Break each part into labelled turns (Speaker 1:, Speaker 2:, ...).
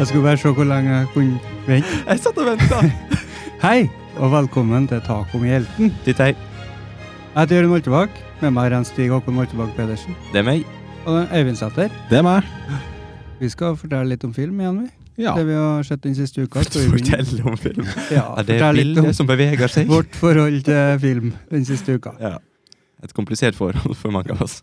Speaker 1: Jeg skulle bare se hvor lenge jeg kunne vente.
Speaker 2: Jeg satt og venta.
Speaker 1: Hei, og velkommen til Taco med hjelten.
Speaker 2: Ditt hei.
Speaker 1: Jeg heter Jørund Moltebakk. Med meg har jeg en Stig Håkon Moltebakk Pedersen.
Speaker 2: Det er meg.
Speaker 1: Og det er Øyvind Sæther.
Speaker 3: Det er meg.
Speaker 1: Vi skal fortelle litt om film igjen, vi.
Speaker 3: Ja.
Speaker 1: Det vi har sett den siste uka. skal vi begynne-
Speaker 2: Fortell om film.
Speaker 1: Ja,
Speaker 2: Er det
Speaker 1: fortell litt
Speaker 2: bildet
Speaker 1: om
Speaker 2: som beveger seg?
Speaker 1: vårt forhold til film den siste uka.
Speaker 2: Ja. Et komplisert forhold for mange av oss.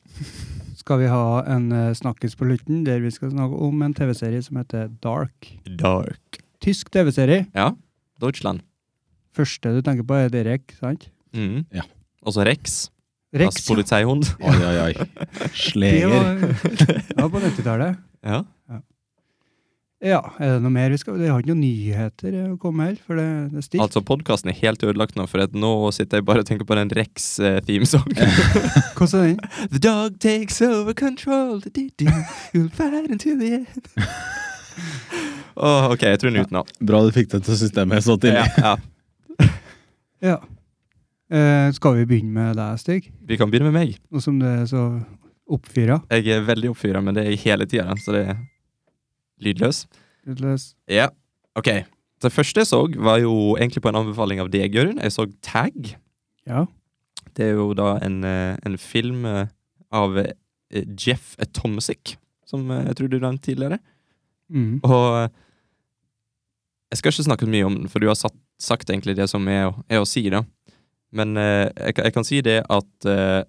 Speaker 1: Skal vi ha en eh, snakkes på lutten, der vi skal snakke om en TV-serie som heter Dark.
Speaker 2: Dark.
Speaker 1: Tysk TV-serie.
Speaker 2: Ja. Deutschland.
Speaker 1: Første du tenker på, er Derek, sant?
Speaker 2: Mhm.
Speaker 3: Ja.
Speaker 2: Også Rex.
Speaker 1: Rex.
Speaker 2: Das Polizeihund.
Speaker 3: Oi, oi, oi.
Speaker 1: Det
Speaker 3: Sleger.
Speaker 1: var, det var på 90-tallet.
Speaker 2: Ja.
Speaker 1: Ja, er det noe mer vi skal Vi har ikke noen nyheter eh, å komme med her, for det, det er stilt.
Speaker 2: Altså, podkasten er helt ødelagt nå, for at nå sitter jeg bare og tenker på den Rex-themesongen.
Speaker 1: Hvordan er den?
Speaker 2: The dog takes over control. Du-du-du. You'll fight until the end. Åh, ok, jeg tror den er uten nå.
Speaker 3: Bra du fikk det til systemet så tidlig.
Speaker 2: Ja, ja.
Speaker 1: Ja. Eh, skal vi begynne med deg, Stig?
Speaker 2: Vi kan begynne med meg.
Speaker 1: Nå som du er så oppfyra.
Speaker 2: Jeg er veldig oppfyra, men det er jeg hele tida, så det er lydløs.
Speaker 1: Utløs.
Speaker 2: Ja, ok. Det første jeg så, var jo egentlig på en anbefaling av deg, Jørund. Jeg så Tag.
Speaker 1: Ja.
Speaker 2: Det er jo da en, eh, en film eh, av eh, Jeff Tomsic, som eh, jeg tror du nevnte tidligere.
Speaker 1: Mm.
Speaker 2: Og eh, jeg skal ikke snakke mye om den, for du har satt, sagt egentlig det som er, å- er å si, da. Men eh, jeg, kan- jeg kan si det at eh,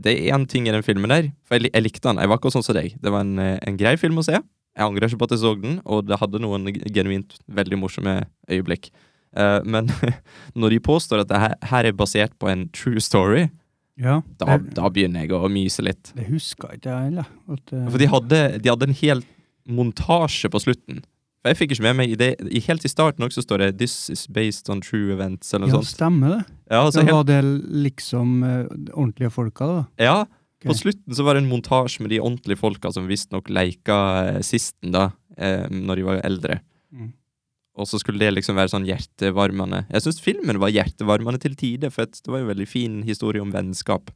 Speaker 2: det er én ting i den filmen der. For jeg, li- jeg likte den. Jeg var ikke sånn som deg. Det var en, eh, en grei film å se. Jeg angrer ikke på at jeg så den, og det hadde noen genuint veldig morsomme øyeblikk. Eh, men når de påstår at det her, her er basert på en true story,
Speaker 1: ja.
Speaker 2: da,
Speaker 1: det,
Speaker 2: da begynner jeg å myse litt.
Speaker 1: det huska ikke jeg heller. at, eh,
Speaker 2: For de hadde, de hadde en hel montasje på slutten. For jeg fikk ikke med meg i det. I helt i starten også står det 'This is based on true events', eller noe
Speaker 1: ja,
Speaker 2: sånt.
Speaker 1: stemmer det.
Speaker 2: Ja, altså,
Speaker 1: det
Speaker 2: helt,
Speaker 1: var det liksom eh, ordentlige folka, da?
Speaker 2: ja På
Speaker 1: Ok.
Speaker 2: slutten så var det en montasje med de ordentlige folka som visstnok leika eh, sisten, da, eh, når de var eldre.
Speaker 1: Mm.
Speaker 2: Og så skulle det liksom være sånn hjertevarmende. Jeg syns filmen var hjertevarmende til tider, for at det var jo en veldig fin historie om vennskap.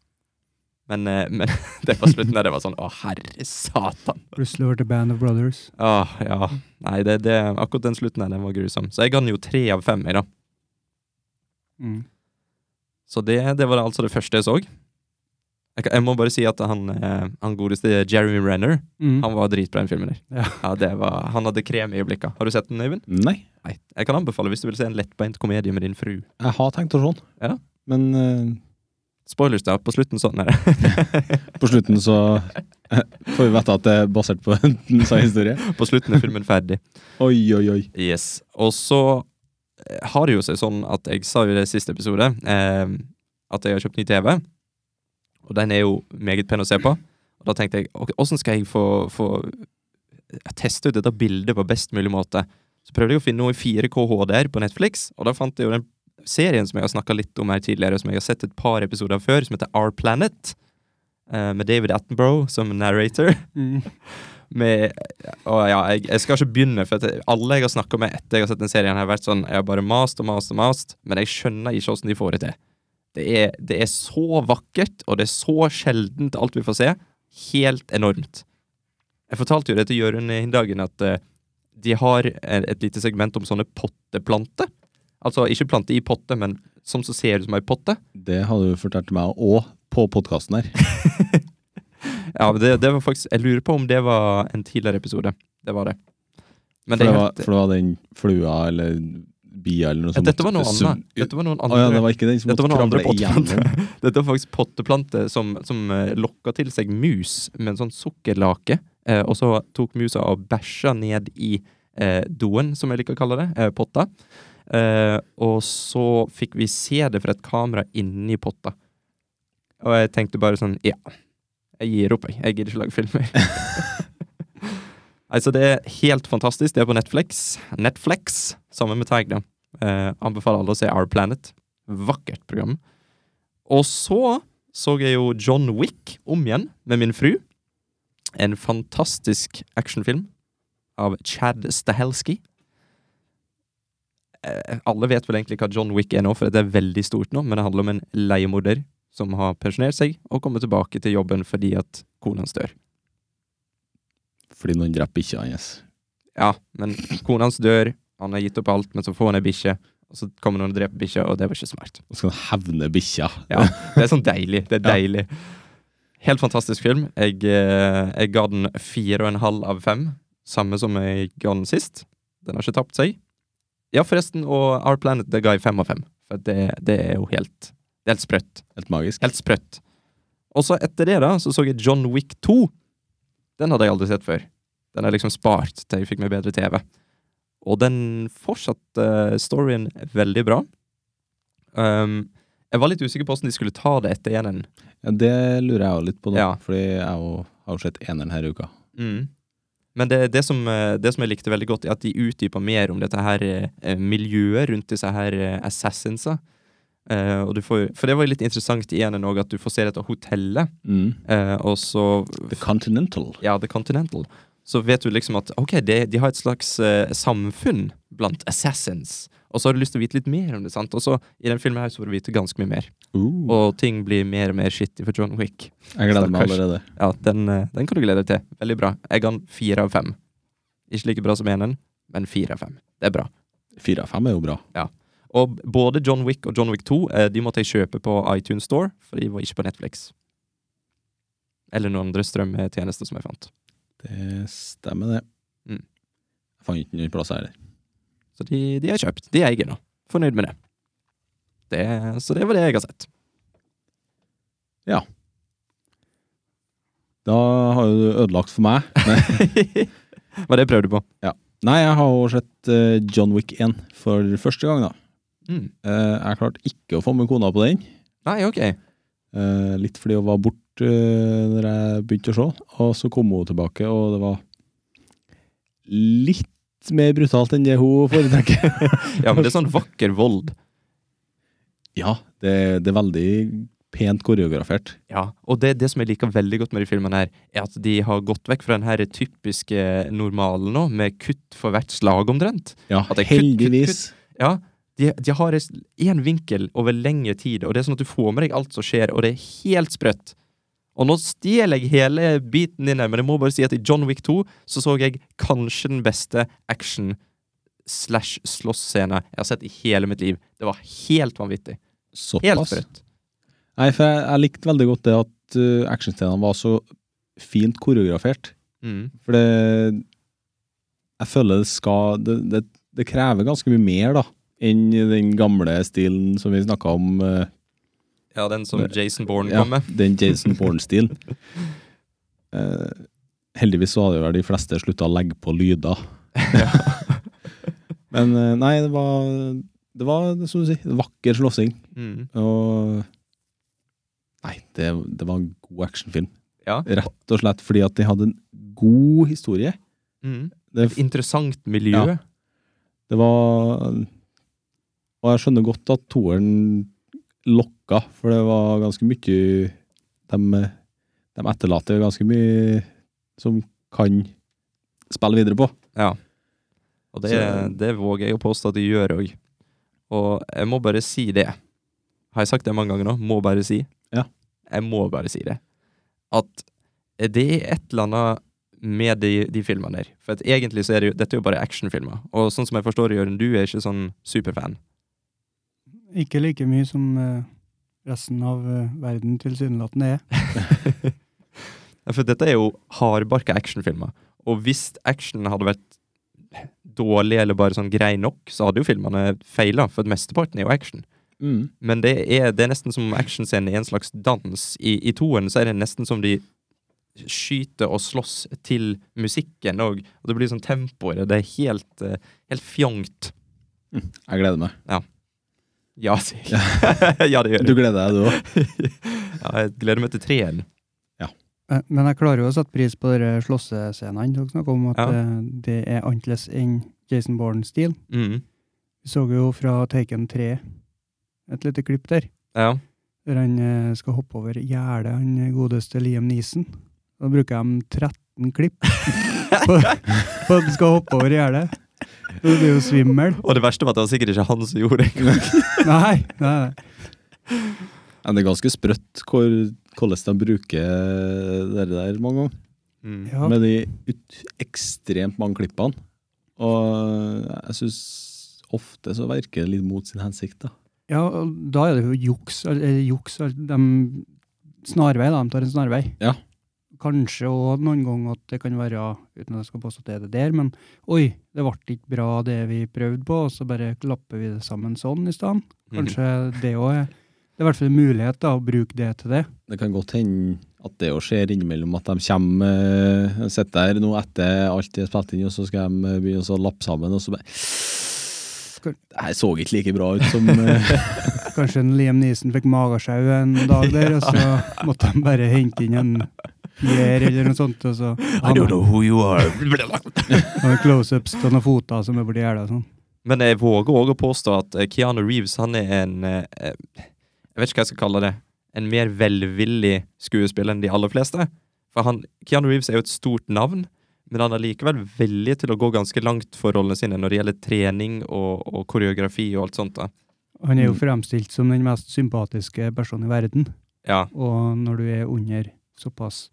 Speaker 2: Men, eh, men det på slutten der, det var sånn Å, herre satan.
Speaker 1: Plutselig ble det Band of Brothers.
Speaker 2: Åh, Ah, ja. Nei, det, det, akkurat den slutten her, den var grusom. Så jeg ga den jo tre av fem i, da.
Speaker 1: Mm.
Speaker 2: Så det, det var altså det første jeg så. Jeg, kan- jeg må bare si at han, eh, han godeste Jeremy Renner,
Speaker 1: Mm.
Speaker 2: han var dritbra i den filmen der.
Speaker 1: Ja.
Speaker 2: det var, han hadde krem i øyeblikket. Har du sett den, Øyvind?
Speaker 3: Nei,
Speaker 2: Nei. Jeg kan anbefale hvis du vil se en lettbeint komedie med din fru.
Speaker 3: jeg har tenkt å se den.
Speaker 2: Ja.
Speaker 3: Men eh,
Speaker 2: Spoilers, da. På slutten sånn er det.
Speaker 3: på slutten så eh, får vi vite at det er basert på en sann historie.
Speaker 2: På slutten er filmen ferdig.
Speaker 3: Oi, oi, oi.
Speaker 2: Yes. Og så eh, har det jo seg sånn at jeg sa jo i det siste episode eh, at jeg har kjøpt ny TV. Og den er jo meget pen å se på. Og da tenkte jeg ok, åssen skal jeg få, få eh, teste ut dette bildet på best mulig måte? Så prøvde jeg å finne noe i 4K HDR på Netflix, og da fant jeg jo den serien som jeg har snakka litt om her tidligere, som jeg har sett et par episoder av før, som heter Our Planet. eh, Med David Attenborough som narrator
Speaker 1: Mm.
Speaker 2: med å, ja, jeg, jeg skal ikke begynne, for at jeg- alle jeg har snakka med etter jeg har sett den serien, har vært sånn Jeg har bare mast og mast og mast, men jeg skjønner ikke åssen de får det til. Det er, det er så vakkert, og det er så sjeldent alt vi får se. Helt enormt. Jeg fortalte jo det til Jørund i dagen, at eh, de har et, et lite segment om sånne potteplanter. Altså ikke plante i potte, men som så ser ut som ei potte.
Speaker 3: Det hadde du fortalt meg òg på podkasten her.
Speaker 2: Ja, men det, det var faktisk Jeg lurer på om det var en tidligere episode. Det var det. Men
Speaker 3: For det,
Speaker 2: er
Speaker 3: var,
Speaker 2: helt-
Speaker 3: for det var den flua eller bia eller noe sånt.
Speaker 2: Dette var noe
Speaker 3: Sum-
Speaker 2: annet. Dette var noen
Speaker 3: Å
Speaker 2: andre,
Speaker 3: ja, det var ikke den som
Speaker 2: dette var
Speaker 3: måtte
Speaker 2: noen andre
Speaker 3: kravle igjennom.
Speaker 2: potteplanter. Dette var faktisk potteplanter som, som eh, lokka til seg mus med en sånn sukkerlake, eh, og så tok musa og bæsja ned i eh, doen, som jeg liker å kalle det, eh, potta. Eh, og så fikk vi se det fra et kamera inni potta. Og jeg tenkte bare sånn Ja, jeg gir opp, jeg. Jeg gidder ikke lage film, jeg. Altså, det er helt fantastisk. Det er på Netflix. Netflix, sammen med Tag, da. Eh, anbefaler alle å se Our Planet. Vakkert program. Og så så jeg jo John Wick om igjen med min fru. En fantastisk actionfilm av Chad Stahelski. Eh, alle vet vel egentlig hva John Wick er nå, for det er veldig stort nå, men det handler om en leiemorder som har pensjonert seg og kommer tilbake til jobben fordi at kona hans dør.
Speaker 3: Fordi noen dreper bikkja hans.
Speaker 2: Ja, men kona hans dør, han har gitt opp alt, men så får han ei bikkje. Og så kommer noen og dreper bikkja, og det var ikke smart.
Speaker 3: Og skal han hevne bikkja.
Speaker 2: Ja, Det er sånn deilig. Det er
Speaker 3: Ja.
Speaker 2: deilig. Helt fantastisk film. Jeg, eh, jeg ga den fire og en halv av fem. Samme som jeg ga den sist. Den har ikke tapt seg. Ja, forresten, og Our Planet det ga jeg fem av fem. For det, det er jo helt, det er helt sprøtt.
Speaker 3: Helt magisk.
Speaker 2: Helt sprøtt. Og så etter det da, så så jeg John Wick 2. Den hadde jeg aldri sett før. Den er liksom spart til jeg fikk meg bedre TV. Og den fortsatte eh, storyen veldig bra. Um, jeg var litt usikker på hvordan de skulle ta det etter eneren.
Speaker 3: Ja, det lurer jeg jo litt på nå,
Speaker 2: Ja.
Speaker 3: fordi jeg jo- har jo sett eneren her i uka.
Speaker 2: Mm. Men det, det, som, eh, det som jeg likte veldig godt, er at de utdyper mer om dette her eh, miljøet rundt disse her eh, assassinsa. Eh, og du får, for det var jo litt interessant i eneren òg, at du får se dette hotellet.
Speaker 3: Mm.
Speaker 2: eh, og så
Speaker 3: The Continental.
Speaker 2: ja, The Continental, så vet du liksom at ok, de, de har et slags eh, samfunn blant assassins. Og så har du lyst til å vite litt mer om det, sant? Og så i den filmen her så får du vite ganske mye mer. Og ting blir mer og mer shitty for John Wick.
Speaker 3: jeg gleder meg
Speaker 2: Stakkars.
Speaker 3: allerede.
Speaker 2: Ja, den, eh, den kan du glede deg til. Veldig bra. Jeg ga den fire av fem. Ikke like bra som eneren, men fire av fem. Det er bra.
Speaker 3: Fire av fem er jo bra.
Speaker 2: Og b- både John Wick og John Wick 2 eh, de måtte jeg kjøpe på iTunes Store, for de var ikke på Netflix. Eller noen andre strømtjenester som jeg fant.
Speaker 3: Det stemmer, det.
Speaker 2: Mm.
Speaker 3: Jeg fant ikke noen plass her.
Speaker 2: Så de, de har kjøpt. De eier nå. Fornøyd med det. det. Så det var det jeg har sett.
Speaker 3: Da har jo du ødelagt for meg.
Speaker 2: var det jeg prøvde på.
Speaker 3: Nei, jeg har jo sett eh, John Wick 1 for første gang, da.
Speaker 2: Mm.
Speaker 3: Eh, jeg klarte ikke å få med kona på den.
Speaker 2: Nei, ok.
Speaker 3: Eh, litt fordi hun var borte eh, når jeg begynte å se. Og så kom hun tilbake, og det var litt mer brutalt enn det hun foretrekker.
Speaker 2: Ja, men det er sånn vakker vold.
Speaker 3: ja, det, det er veldig pent koreografert.
Speaker 2: Ja, og det, det som jeg liker veldig godt med de filmene her, er at de har gått vekk fra den her typiske normalen nå, med kutt for hvert slag omtrent.
Speaker 3: Ja,
Speaker 2: At det er kutt, kutt,
Speaker 3: heldigvis.
Speaker 2: Ja, de, de har én vinkel over lengre tid, og det er sånn at du får med deg alt som skjer, og det er helt sprøtt. Og nå stjeler jeg hele biten din her, men jeg må bare si at i John Wick 2 så så jeg kanskje den beste action slash slåssscenen jeg har sett i hele mitt liv. Det var helt vanvittig. Helt
Speaker 3: Såpass.
Speaker 2: sprøtt.
Speaker 3: Nei, for jeg, jeg likte veldig godt det at uh, actionscenene var så fint koreografert.
Speaker 2: Mm.
Speaker 3: For det Jeg føler det skal Det, det, det krever ganske mye mer, da. Enn den gamle stilen som vi snakka om. eh,
Speaker 2: Ja, den som Jason Bourne
Speaker 3: Ja,
Speaker 2: kom med.
Speaker 3: den Jason Bourne-stilen. Eh, heldigvis så hadde jo vel de fleste slutta å legge på lyder. Men eh, nei, det var Det var, som du sier, vakker slåssing.
Speaker 2: Mm.
Speaker 3: Og Nei, det, det var en god actionfilm.
Speaker 2: Ja.
Speaker 3: Rett og slett fordi at de hadde en god historie.
Speaker 2: Mm.
Speaker 3: Det,
Speaker 2: Et interessant miljø.
Speaker 3: Ja. det var Og jeg skjønner godt at toeren lokka, for det var ganske mye De, de etterlater jo ganske mye som kan spille videre på.
Speaker 2: Og det,
Speaker 3: Så-
Speaker 2: det våger jeg å påstå at de gjør òg. Og jeg må bare si det. Har jeg sagt det mange ganger nå? Må bare si.
Speaker 3: Ja.
Speaker 2: Jeg må bare si det. At det er et eller annet med de, de filmene der. For at egentlig så er det jo, dette er jo bare actionfilmer. Og sånn som jeg forstår det, Jørund, du er ikke sånn superfan.
Speaker 1: Ikke like mye som eh, resten av eh, verden tilsynelatende er.
Speaker 2: Ja, For dette er jo hardbarka actionfilmer. Og hvis action hadde vært dårlig eller bare sånn grei nok, så hadde jo filmene feila, for mesteparten er jo action. Men det er, det er nesten som om actionscenen er en slags dans. I, i toen så er det nesten som de skyter og slåss til musikken òg. Og det blir sånn tempo i det. Det er helt, eh, helt fjongt.
Speaker 3: Jeg gleder meg.
Speaker 2: Ja, sier jeg. ja, det gjør
Speaker 3: Du
Speaker 2: det.
Speaker 3: gleder deg, du òg.
Speaker 2: Ja, jeg gleder meg til treen.
Speaker 1: Eh, Men jeg klarer jo å sette pris på de slåssescenene dere snakker om, at
Speaker 2: Ja.
Speaker 1: eh, det er annerledes enn Jason Bourne-stil.
Speaker 2: Mm.
Speaker 1: Vi så jo fra Taken 3 et lite klipp der,
Speaker 2: Ja.
Speaker 1: der han eh, skal hoppe over gjerdet, han eh, godeste Liam Neeson. Da bruker de 13 klipp på, på at han skal hoppe over gjerdet. Så Du blir jo svimmel.
Speaker 2: Og det verste var at det var sikkert ikke han som gjorde det.
Speaker 1: Nei, nei, nei.
Speaker 3: Ja, det er ganske sprøtt hvor, hvordan de bruker det der mange ganger.
Speaker 2: Mm.
Speaker 1: Ja.
Speaker 3: Med de ut, ekstremt mange klippene. Og jeg syns ofte så virker det litt mot sin hensikt, da.
Speaker 1: Ja, og da er det jo juks. al- Eller juks al- de, snarvei, da. De tar en snarvei.
Speaker 3: Ja.
Speaker 1: Kanskje òg noen ganger at det kan være, uten at jeg skal påstå at det er det der, men oi, det ble ikke bra det vi prøvde på, og så bare klapper vi det sammen sånn i stedet.
Speaker 2: Mhm.
Speaker 1: Kanskje det òg er Det er i hvert fall en mulighet da, å bruke det til det.
Speaker 3: Det kan godt hende at det jo skjer innimellom at de kommer eh, sitter der nå etter alt de har spilt inn, og så skal de eh, begynne å lappe sammen, og så bare Det her så ikke like bra ut som eh,
Speaker 1: Kanskje en Liam Neeson fikk magesjau en dag der, og så måtte de bare hente inn en Pierre eller noe sånt, og så
Speaker 2: I don't know who you are.
Speaker 1: Og close-ups av noen foter som er borti gjerdet og sånn.
Speaker 2: Men jeg våger òg å påstå at eh, Keanu Reeves han er en eh, eh, Jeg vet ikke hva jeg skal kalle det. En mer velvillig skuespiller enn de aller fleste. For han, Keanu Reeves er jo et stort navn, men han er likevel villig til å gå ganske langt for rollene sine når det gjelder trening og, og koreografi og alt sånt. da.
Speaker 1: Han er jo
Speaker 3: Mm.
Speaker 1: fremstilt som den mest sympatiske personen i verden,
Speaker 2: Ja,
Speaker 1: og når du er under såpass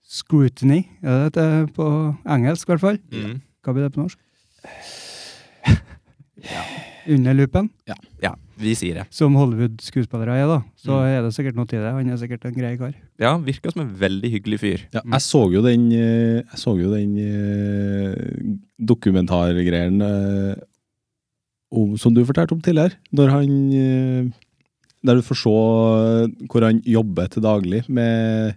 Speaker 1: scrutiny, er det dette på engelsk i hvert fall?
Speaker 2: mm.
Speaker 1: Hva blir det på norsk? Under lupen,
Speaker 2: ja vi sier det.
Speaker 1: som Hollywood-skuespillere er, da. Så
Speaker 2: Mm.
Speaker 1: er det sikkert noe til det. Han er sikkert en grei kar.
Speaker 2: Ja, virker som en veldig hyggelig fyr.
Speaker 3: ja, Jeg så jo den eh, Jeg så jo den eh, dokumentargreien eh, om, som du fortalte om tidligere, når han eh, Der du får se eh, hvor han jobber til daglig med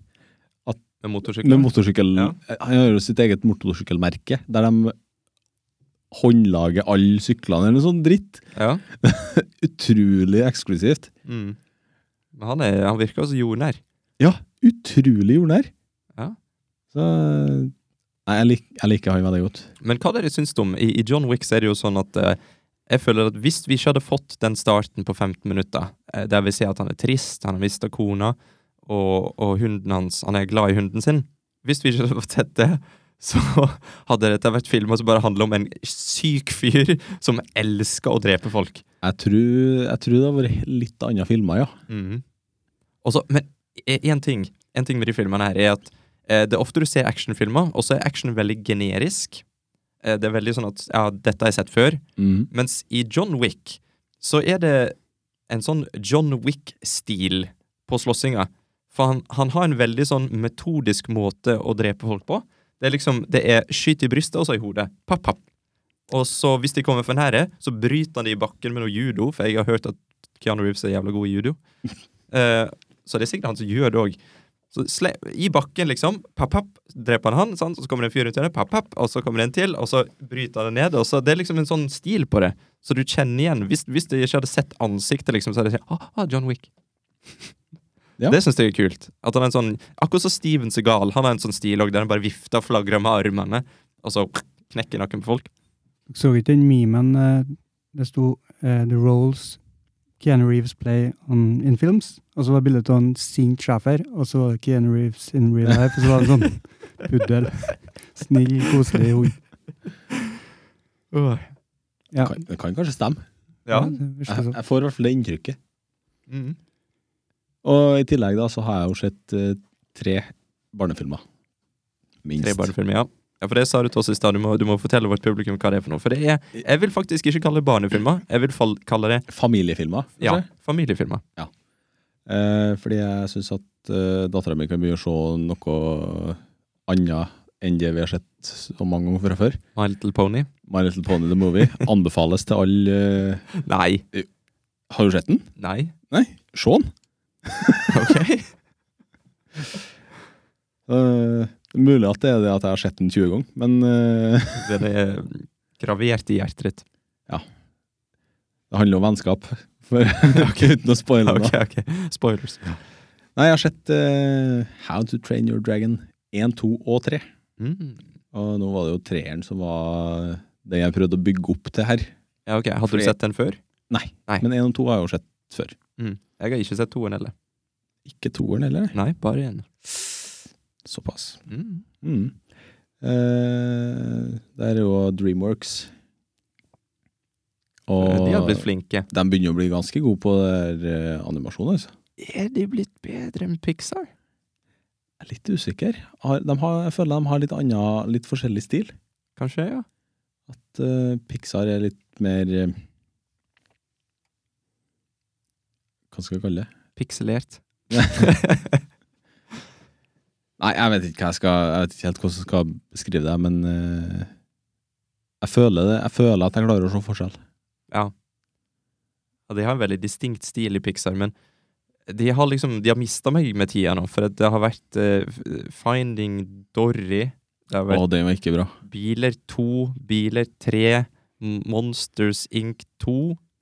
Speaker 2: Med motorsykkel.
Speaker 3: Med motorsykkel.
Speaker 2: Ja.
Speaker 3: Han har jo sitt eget motorsykkelmerke, der de håndlager alle syklene eller noe sånn dritt.
Speaker 2: ja.
Speaker 3: Utrolig eksklusivt.
Speaker 2: mm. Men han, er, han virker også jordnær.
Speaker 3: Utrolig jordnær.
Speaker 2: Ja.
Speaker 3: Så eh, Nei, jeg, lik, jeg liker han veldig godt.
Speaker 2: Men hva dere syns om I, I John Wick så er det jo sånn at eh, jeg føler at hvis vi ikke hadde fått den starten på 15 minutter, eh, der vi ser at han er trist, han har mista kona, og, og hunden hans Han er glad i hunden sin Hvis vi ikke hadde fått sett det, så hadde dette vært filma som bare handler om en syk fyr som elsker å drepe folk.
Speaker 3: Jeg tror, jeg tror det har vært litt andre filmer, ja.
Speaker 2: Mhm. Og så- men én ting, en ting med de filmene her er at eh, det er ofte du ser actionfilmer, og så er action veldig generisk. Eh, det er veldig sånn at ja, dette har jeg sett før.
Speaker 3: Mm.
Speaker 2: Mens i John Wick så er det en sånn John Wick-stil på slåssinga. For han, han har en veldig sånn metodisk måte å drepe folk på. Det er liksom, det er skyt i brystet og så i hodet. Papp, papp. Og så hvis de kommer for nære, så bryter han de i bakken med noe judo, for jeg har hørt at Keanu Reeves er jævla god i judo. Eh, så det er sikkert han som gjør det òg. Så sle I bakken, liksom. Papp, papp, dreper han han, sant? så kommer det en fyr ut i det, papp, papp, og så kommer det en til, og så bryter han det ned. Og så, det er liksom en sånn stil på det. Så du kjenner igjen. Hvis, hvis du ikke hadde sett ansiktet, liksom, så hadde jeg sagt ah, ah, John Wick.
Speaker 3: Ja.
Speaker 2: Det syns jeg er kult. At han er en sånn, Akkurat som Steven Segal. Han har en sånn stil også, der han bare vifter og flagrer med armene, og så knekker nakken på folk.
Speaker 1: Dere så ikke den memen eh, det sto eh, 'The Roles Keanu Reeves Play on, in Films'? Og så var bildet av en sint sjef her, og så var det Keanu Reeves in real life. Og så var det en sånn puddel. Snill, koselig hund. Ja.
Speaker 3: Kan, det kan kanskje stemme.
Speaker 2: Ja.
Speaker 1: det virker
Speaker 3: Jeg,
Speaker 1: sånn.
Speaker 3: jeg får i hvert fall det inntrykket.
Speaker 2: Mm.
Speaker 3: Og i tillegg da, så har jeg jo sett eh, tre barnefilmer. Minst.
Speaker 2: Tre barnefilmer, ja. Ja, for det sa du til oss i stad. Du, må- du må fortelle vårt publikum hva det er for noe. For det er, jeg vil faktisk ikke kalle det barnefilmer. Jeg vil fall, kalle det
Speaker 3: Familiefilmer. kanskje?
Speaker 2: ja, familiefilmer.
Speaker 3: Eh, fordi jeg syns at eh, dattera mi kan begynne å se noe annet enn det vi har sett så mange ganger fra før.
Speaker 2: My Little Pony.
Speaker 3: My Little Pony The Movie anbefales til alle eh,
Speaker 2: Nei.
Speaker 3: Har du sett den?
Speaker 2: Nei.
Speaker 3: Se den!
Speaker 2: Ok.
Speaker 3: Eh, mulig at det er det at jeg har sett den 20 ganger, men eh,
Speaker 2: Den er gravert i hjertet ditt.
Speaker 3: det handler om vennskap. For, uten å spoile det.
Speaker 2: Ok, ok. Spoilers.
Speaker 3: Nei, jeg har sett eh, How to Train Your Dragon 1, 2 og 3.
Speaker 2: Mm.
Speaker 3: Og nå var det jo treeren som var det jeg prøvde å bygge opp til her.
Speaker 2: Ja, ok. Hadde
Speaker 3: Fordi-
Speaker 2: du sett den før?
Speaker 3: Nei,
Speaker 2: Nei.
Speaker 3: men 1 og 2 har jeg jo sett før.
Speaker 2: Jeg har ikke sett toen heller.
Speaker 3: Ikke toeren heller.
Speaker 2: Nei, bare én.
Speaker 3: Såpass.
Speaker 2: Mm.
Speaker 3: Mm. Eh, der er jo Dreamworks. Og
Speaker 2: Eh, De har
Speaker 3: de,
Speaker 2: blitt flinke.
Speaker 3: begynner å bli ganske gode på det der, eh, animasjon. Altså.
Speaker 2: Er de blitt bedre enn Pixar?
Speaker 3: Jeg er litt usikker. Har, de har, jeg føler de har litt annen, litt forskjellig stil.
Speaker 2: Kanskje, ja.
Speaker 3: At, at eh, Pixar er litt mer eh, Hva skal jeg kalle det?
Speaker 2: Pikselert.
Speaker 3: Nei, jeg vet ikke, hva jeg, skal, jeg vet ikke helt hvordan jeg skal beskrive det, men eh, jeg, føler det, jeg føler at jeg klarer å se forskjell.
Speaker 2: Ja, de har en veldig distinkt stil i Pixar, men de har liksom, de har mista meg med tida nå, for at det har vært eh, F- Finding Dory, det har vært
Speaker 3: Å, det var ikke bra.
Speaker 2: Biler 2, Biler 3, M- Monsters Inc. 2.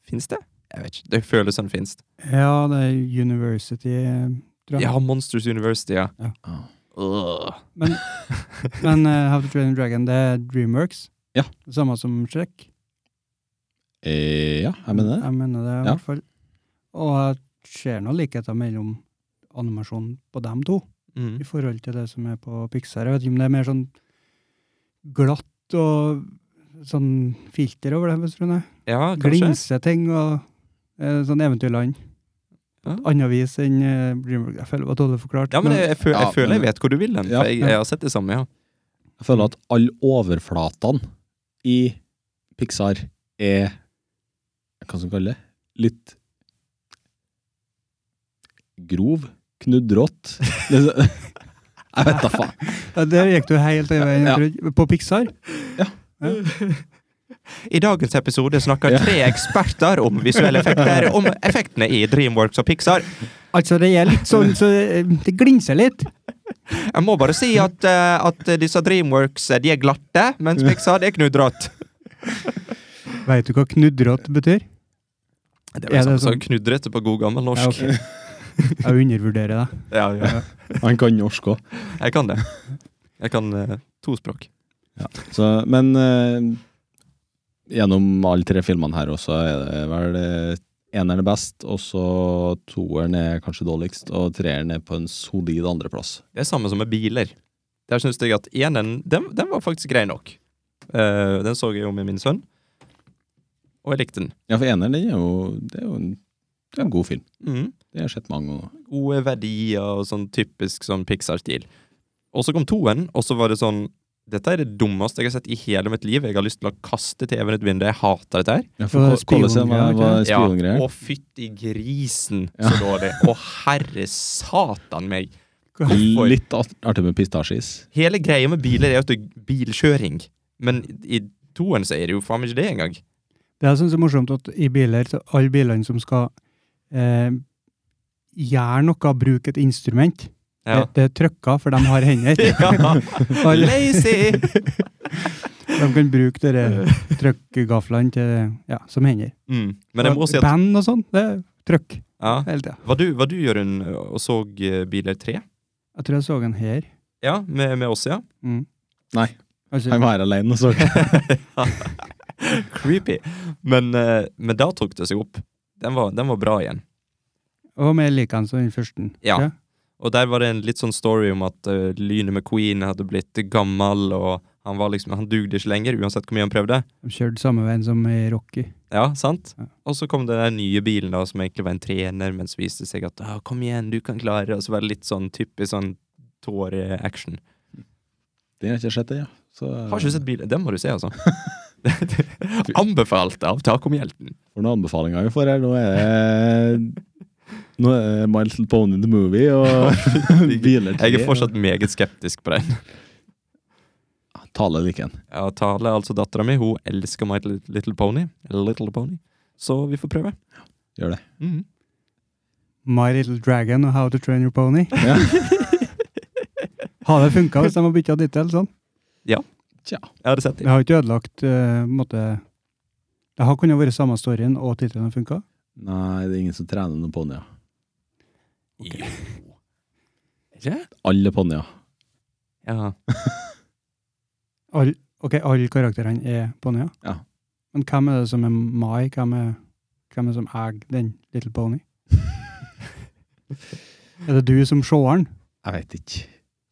Speaker 2: Fins det? Jeg vet ikke, det føles som det fins.
Speaker 1: Ja, det er University, eh, tror jeg.
Speaker 2: Ja, Monsters University, ja.
Speaker 3: Ja.
Speaker 2: Øh.
Speaker 1: Men, men eh, How to Train a Dragon, det er Dreamworks.
Speaker 3: Ja.
Speaker 1: Det samme som Shrek.
Speaker 3: Eh, ja, jeg mener det.
Speaker 1: Jeg mener det, i
Speaker 3: Ja.
Speaker 1: hvert fall. Og jeg ser noen likheter mellom animasjonen på dem to,
Speaker 2: Mm.
Speaker 1: i forhold til det som er på Pixar. Jeg vet ikke om det er mer sånn glatt og sånn filter over det, hvis du skjønner.
Speaker 2: Ja, kanskje.
Speaker 1: Glinseting og eh, sånn eventyrland. På et
Speaker 2: Ja.
Speaker 1: annet vis enn eh, Dreamworks. Jeg føler det var dårlig forklart.
Speaker 2: Ja, men jeg, jeg, føl,
Speaker 3: Ja,
Speaker 2: jeg føler jeg
Speaker 3: men-
Speaker 2: vet hvor du vil den,
Speaker 3: Ja,
Speaker 2: for jeg,
Speaker 1: ja.
Speaker 2: jeg har sett det samme, ja.
Speaker 3: Jeg føler at alle overflatene i Pixar er Hva skal jeg kalle det? Litt grov, knudrete Liksom- Jeg vet da faen.
Speaker 1: Ja, Der gikk du helt i veien.
Speaker 3: Ja.
Speaker 1: jeg tror. På Pixar?
Speaker 2: I dagens episode snakker
Speaker 3: Ja.
Speaker 2: tre eksperter om visuelle effekter, om effektene i Dreamworks og Pixar.
Speaker 1: Altså, det er litt sånn, så eh, det glinser litt.
Speaker 2: Jeg må bare si at, eh, at disse Dreamworks eh, de er glatte, mens Pixar det er knudrete.
Speaker 1: Veit du hva knudrete betyr?
Speaker 2: Det
Speaker 1: Er
Speaker 2: er vel
Speaker 1: det
Speaker 2: sånn
Speaker 1: sånn-
Speaker 2: knudrete på god gammel norsk.
Speaker 1: Ja, ok. Jeg undervurderer det.
Speaker 2: Ja, ja.
Speaker 3: Han kan norsk òg.
Speaker 2: Jeg kan det. Jeg kan eh, to språk.
Speaker 3: Så, Men eh, gjennom alle tre filmene her også er det vel eh, eneren er best, og så toeren er kanskje dårligst, og treeren er på en solid andreplass.
Speaker 2: Det er samme som med biler. Der syns jeg at eneren den, den var faktisk grei nok. Eh, den så jeg jo med min sønn, og jeg likte den.
Speaker 3: Ja, for eneren den er jo, det er jo en, det er en god film.
Speaker 2: Mhm.
Speaker 3: Det har jeg sett mange ganger.
Speaker 2: Gode verdier og sånn typisk sånn Pixar-stil. Og så kom toen, og så var det sånn Dette er det dummeste jeg har sett i hele mitt liv. Jeg har lyst til å kaste TV-en ut vinduet. Jeg hater dette her.
Speaker 3: Ja,
Speaker 1: for
Speaker 3: for Colosseum E var,
Speaker 1: spiongreier,
Speaker 3: var
Speaker 1: ikke
Speaker 2: Ja,
Speaker 3: spiongreier.
Speaker 2: og fytti grisen,
Speaker 3: Ja.
Speaker 2: så dårlig. Å, herre satan meg. hvorfor?
Speaker 3: Litt art- artig med pistasjeis.
Speaker 2: Hele greia med biler er jo at det er bilkjøring, men i toen så er det jo faen meg ikke det engang.
Speaker 1: Det jeg syns er sånn morsomt, at i biler, så alle bilene som skal eh, gjøre noe, bruke et instrument,
Speaker 2: Ja.
Speaker 1: det, det er trøkker, for de har hender.
Speaker 2: ja.
Speaker 1: Alle,
Speaker 2: Lazy!
Speaker 1: de kan bruke dere trøkkgaflene til, ja, som hender.
Speaker 2: Mm. Men jeg må si at
Speaker 1: Band og sånn, det er trøkk
Speaker 2: ja.
Speaker 1: hele tida.
Speaker 2: Hva du, hva du gjør hun og så eh, Biler 3?
Speaker 1: Jeg tror jeg så en her.
Speaker 2: Ja, med, med oss, ja.
Speaker 1: Mm.
Speaker 3: Nei.
Speaker 1: Altså,
Speaker 3: Han var her alene og så
Speaker 2: Creepy. Men, eh, men da tok det seg opp. Den var, den var bra igjen.
Speaker 1: og mer likende som den første.
Speaker 2: Ja.
Speaker 1: Ja.
Speaker 2: Og der var det en litt sånn story om at uh, Lynet McQueen hadde blitt gammel, og han var liksom, han dugde ikke lenger, uansett hvor mye han prøvde.
Speaker 1: De kjørte samme veien som i Rocky.
Speaker 2: Ja, sant?
Speaker 1: Ja.
Speaker 2: Og så kom den der nye bilen da, som egentlig var en trener, men så viste det seg at «Ah, 'kom igjen, du kan klare', og så var det litt sånn typisk sånn tåre-action.
Speaker 3: Det har jeg ikke sett, det, ja. Så,
Speaker 2: Har ikke du sett bilen? Den må du se, altså. Anbefalt av Takomhjelten.
Speaker 3: For noen anbefalinger vi får her. Nå er det Nå er det My Little Pony the Movie og
Speaker 2: Jeg er
Speaker 3: Biler tre,
Speaker 2: fortsatt meget skeptisk på den.
Speaker 3: og- Ah, Tale liker en.
Speaker 2: Ja, Tale, altså dattera mi, hun elsker My Little Pony. Little Pony. Så vi får prøve.
Speaker 3: Gjør det.
Speaker 2: Mhm.
Speaker 1: My Little Dragon og How to Train Your Pony.
Speaker 3: Ja.
Speaker 1: Har det funka hvis de har bytta tittel? Sånn?
Speaker 2: Jeg hadde sett
Speaker 1: Det
Speaker 2: det.
Speaker 1: har ikke ødelagt eh, måte, Det har kunnet vært samme storyen, og tittelen har funka.
Speaker 3: Nei, det er ingen som trener noen ponnier.
Speaker 2: Jo. Er det?
Speaker 3: Alle ponnier.
Speaker 2: Ja.
Speaker 1: All, ok, alle karakterene er ponnier.
Speaker 3: Ja.
Speaker 1: Men hvem er det som er Mai? Hvem er, hvem er det som eier den Little Pony? er det du som seeren?
Speaker 3: Jeg vet ikke.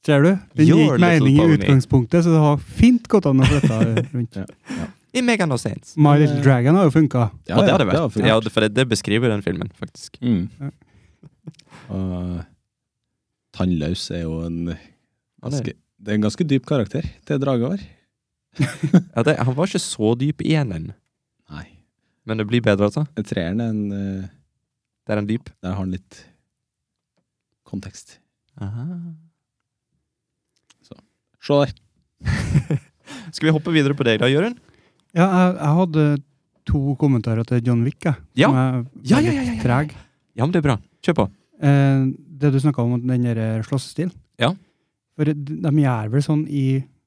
Speaker 1: Ser du? Den gir
Speaker 2: Your
Speaker 1: ikke mening i
Speaker 2: Little Pony.
Speaker 1: utgangspunktet, så det har fint gått an å flytte rundt.
Speaker 2: I Megan og Saints.
Speaker 1: My Little Dragon har jo funka.
Speaker 2: Ja, det hadde vært.
Speaker 3: funnet.
Speaker 2: Ja, for det, det beskriver den filmen, faktisk.
Speaker 3: Mm.
Speaker 1: Ja.
Speaker 3: Og Tannlaus er jo en
Speaker 2: det er-
Speaker 3: ganske, Det er en ganske dyp karakter til Drage var.
Speaker 2: Ja, det, han var ikke så dyp i eneren,
Speaker 3: Nei.
Speaker 2: men det blir bedre, altså.
Speaker 3: Treeren er en eh,
Speaker 2: Der er han dyp.
Speaker 3: Der har han litt kontekst. Se der.
Speaker 2: Skal vi hoppe videre på deg da, Jørund?
Speaker 1: Ja, jeg, jeg hadde to kommentarer til John Wick, jeg,
Speaker 2: Ja.
Speaker 1: som er
Speaker 2: Ja, ja,
Speaker 1: veldig
Speaker 2: ja, ja, ja.
Speaker 1: treg.
Speaker 2: Ja, men det er bra. Kjør på.
Speaker 1: Eh, det du snakka om, den der eh, slåssestilen.
Speaker 2: Ja.
Speaker 1: For de, de gjør vel sånn i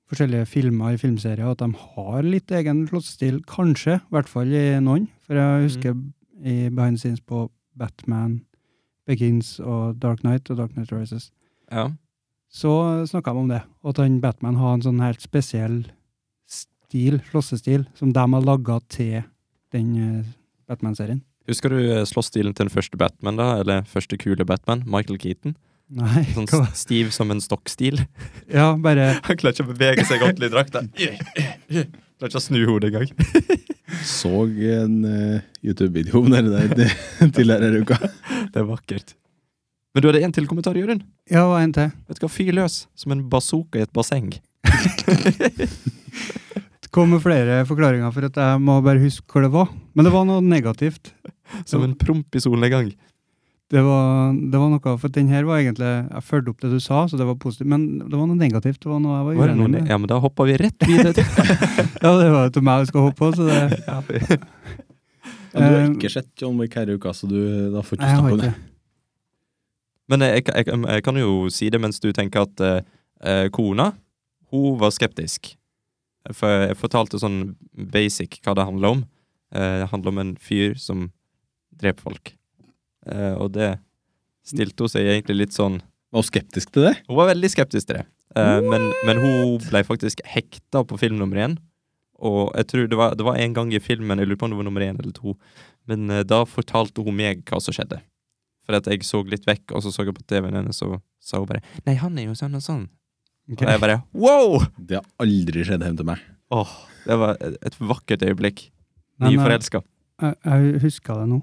Speaker 1: forskjellige filmer i filmserier at de har litt egen slåssestil, kanskje. I hvert fall i noen. For
Speaker 2: Mhm.
Speaker 1: jeg husker i behind the scenes på Batman Begins og Dark Knight og Dark Knight Rises.
Speaker 2: Ja.
Speaker 1: Så snakka de om det, og at han Batman har en sånn helt spesiell stil, slåssestil, som de har laga til den eh, Batman-serien.
Speaker 2: Husker du eh, slåssstilen til den første Batman, da? Eller første kule Batman? Michael Keaton.
Speaker 1: Nei,
Speaker 2: Sånn
Speaker 1: hva?
Speaker 2: s- stiv som en stokkstil.
Speaker 1: Ja, bare
Speaker 2: Han klarer ikke å bevege seg ordentlig i drakta. Klarer ikke å snu hodet engang.
Speaker 3: Så en eh, YouTube-video om det der tidligere i uka.
Speaker 2: Det er vakkert. Men du hadde en til kommentar, Jørund.
Speaker 1: Ja, og en til.
Speaker 2: Vet du hva, fyr løs som en bazooka i et basseng.
Speaker 1: Det kom med flere forklaringer, for at jeg må bare huske hvor det var. Men det var noe negativt.
Speaker 2: Som en promp i solnedgang.
Speaker 1: Det var, det var noe, for den her var egentlig Jeg fulgte opp det du sa, så det var positivt. Men det var noe negativt. Det var noe jeg var
Speaker 2: Var det
Speaker 1: uenig
Speaker 2: noen,
Speaker 1: med.
Speaker 2: ja, men da hoppa vi rett videre til
Speaker 1: Ja, det var jo til meg jeg skal hoppe på, så det
Speaker 2: ja,
Speaker 3: Ja, du har
Speaker 1: Eh,
Speaker 3: ikke sett John Wick her i uka, så du da får
Speaker 1: Nei, Eh, jeg
Speaker 3: ikke snakke
Speaker 1: har
Speaker 3: om det.
Speaker 1: ikke.
Speaker 2: Men jeg, jeg, jeg, jeg kan jo si det mens du tenker at eh, eh, kona, hun var skeptisk. For jeg fortalte sånn basic hva det handler om. Eh, det handler om en fyr som dreper folk. Eh, og det stilte hun seg egentlig litt sånn
Speaker 3: Var du skeptisk til det?
Speaker 2: Hun var veldig skeptisk til det. Eh, men, men hun ble faktisk hekta på film nummer én. Og jeg tror det var, det var en gang i filmen, jeg lurer på om det var nummer én eller to, men eh, da fortalte hun meg hva som skjedde. For at jeg så litt vekk, og så så jeg på TV-en hennes, og sa hun bare 'Nei, han er jo sånn og sånn'.
Speaker 1: Ok.
Speaker 2: Og jeg bare 'wow'!
Speaker 3: Det har aldri skjedd hjemme til meg.
Speaker 2: Åh, det var et et vakkert øyeblikk.
Speaker 1: Men, eh,
Speaker 2: Nyforelska.
Speaker 1: Jeg, jeg huska det nå.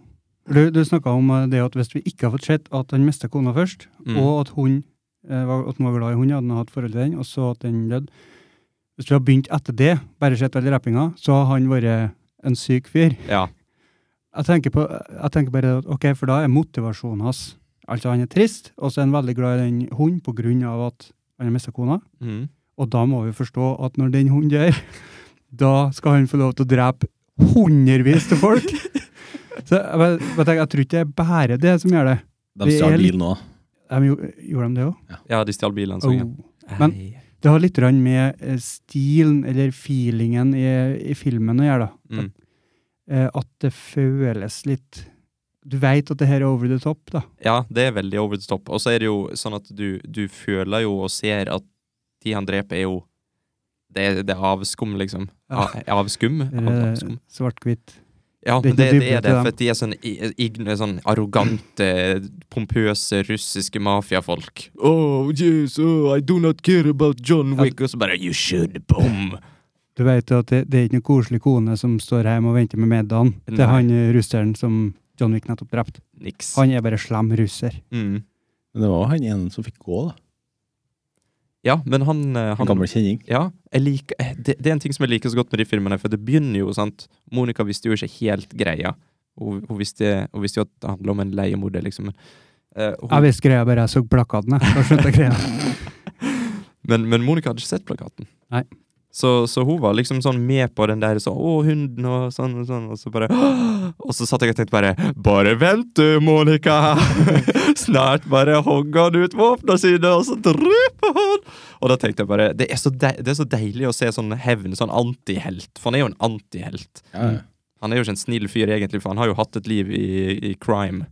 Speaker 1: Du, du snakka om eh, det at hvis vi ikke har fått sett at han mista kona først,
Speaker 2: Mm.
Speaker 1: og at hun eh, var, at han var glad i hunden, hadde han hatt forhold til den, og så at den døde Hvis vi har begynt etter det, bare sett all rappinga, så har han vært en syk fyr.
Speaker 2: Ja.
Speaker 1: Jeg tenker, på, jeg tenker bare at ok, for da er motivasjonen hans Altså, han er trist, og så er han veldig glad i den hunden på grunn av at han har mista kona.
Speaker 2: Mm.
Speaker 1: Og da må vi forstå at når den hunden dør, da skal han få lov til å drepe hundrevis av folk. Så jeg, bare- bare tenker, jeg tror ikke det er bare det som gjør det.
Speaker 3: De
Speaker 1: Det er
Speaker 3: stjal
Speaker 1: litt-
Speaker 3: bilen nå.
Speaker 1: De, gjo- gjorde de det òg?
Speaker 2: ja, de stjal bilen hans. ja.
Speaker 1: Men-
Speaker 2: Ei.
Speaker 1: Det har litt grann med eh, stilen eller feelingen i, i filmen å gjøre, da.
Speaker 2: Mm.
Speaker 1: Eh, At det føles litt Du veit at det her er over the top, da.
Speaker 2: Ja, det er veldig over the top. Og så er det jo sånn at du, du føler jo og ser at de han dreper, er jo Det er, det er avskum, liksom.
Speaker 1: Ja. Eh,
Speaker 2: A, avskum? Av, avskum.
Speaker 1: Svart-hvitt.
Speaker 2: Ja,
Speaker 1: det er
Speaker 2: men
Speaker 1: ikke
Speaker 2: det, det
Speaker 1: dybde
Speaker 2: er det,
Speaker 1: til dem.
Speaker 2: for at de er sånn, i- ign, sånn arrogante, pompøse russiske mafiafolk. Oh, yes, oh, I do not care about John Wick. Og så bare You should bomb!
Speaker 1: Du vet at det, det er ikke noen koselig kone som står hjemme og venter med middagen til
Speaker 2: Nei.
Speaker 1: han eh, russeren som John Wick nettopp drepte.
Speaker 2: Niks.
Speaker 1: Han er bare slem russer.
Speaker 2: Mm.
Speaker 3: Men det var jo han ene som fikk gå, da.
Speaker 2: Ja, men han, eh,
Speaker 3: En
Speaker 2: han
Speaker 3: gammel kjenning.
Speaker 2: Ja, jeg liker, eh, det, det er en ting som jeg liker så godt med de filmene, for det begynner jo, sant Monica visste jo ikke helt greia. Hun, hun, visste, hun visste jo at det handler om en leiemorder, liksom. Men, eh,
Speaker 1: Jeg
Speaker 2: hun,
Speaker 1: visste greia bare jeg så plakatene. Da skjønte jeg greia.
Speaker 2: men, men Monica hadde ikke sett plakaten.
Speaker 1: Nei.
Speaker 2: Så, så hun var liksom sånn med på den der sånn 'Å, hunden', og sånn og sånn, og så bare «Åh!» Og så satt jeg og tenkte bare 'Bare vent, du, Monica'. Snart bare hogger han ut våpnene sine, og så dreper han! Og da tenkte jeg bare Det er så, dei- det er så deilig å se sånn hevn, sånn antihelt. For han er jo en antihelt.
Speaker 3: Ja, ja.
Speaker 2: Han er jo ikke en snill fyr, egentlig, for han har jo hatt et liv i, i crime.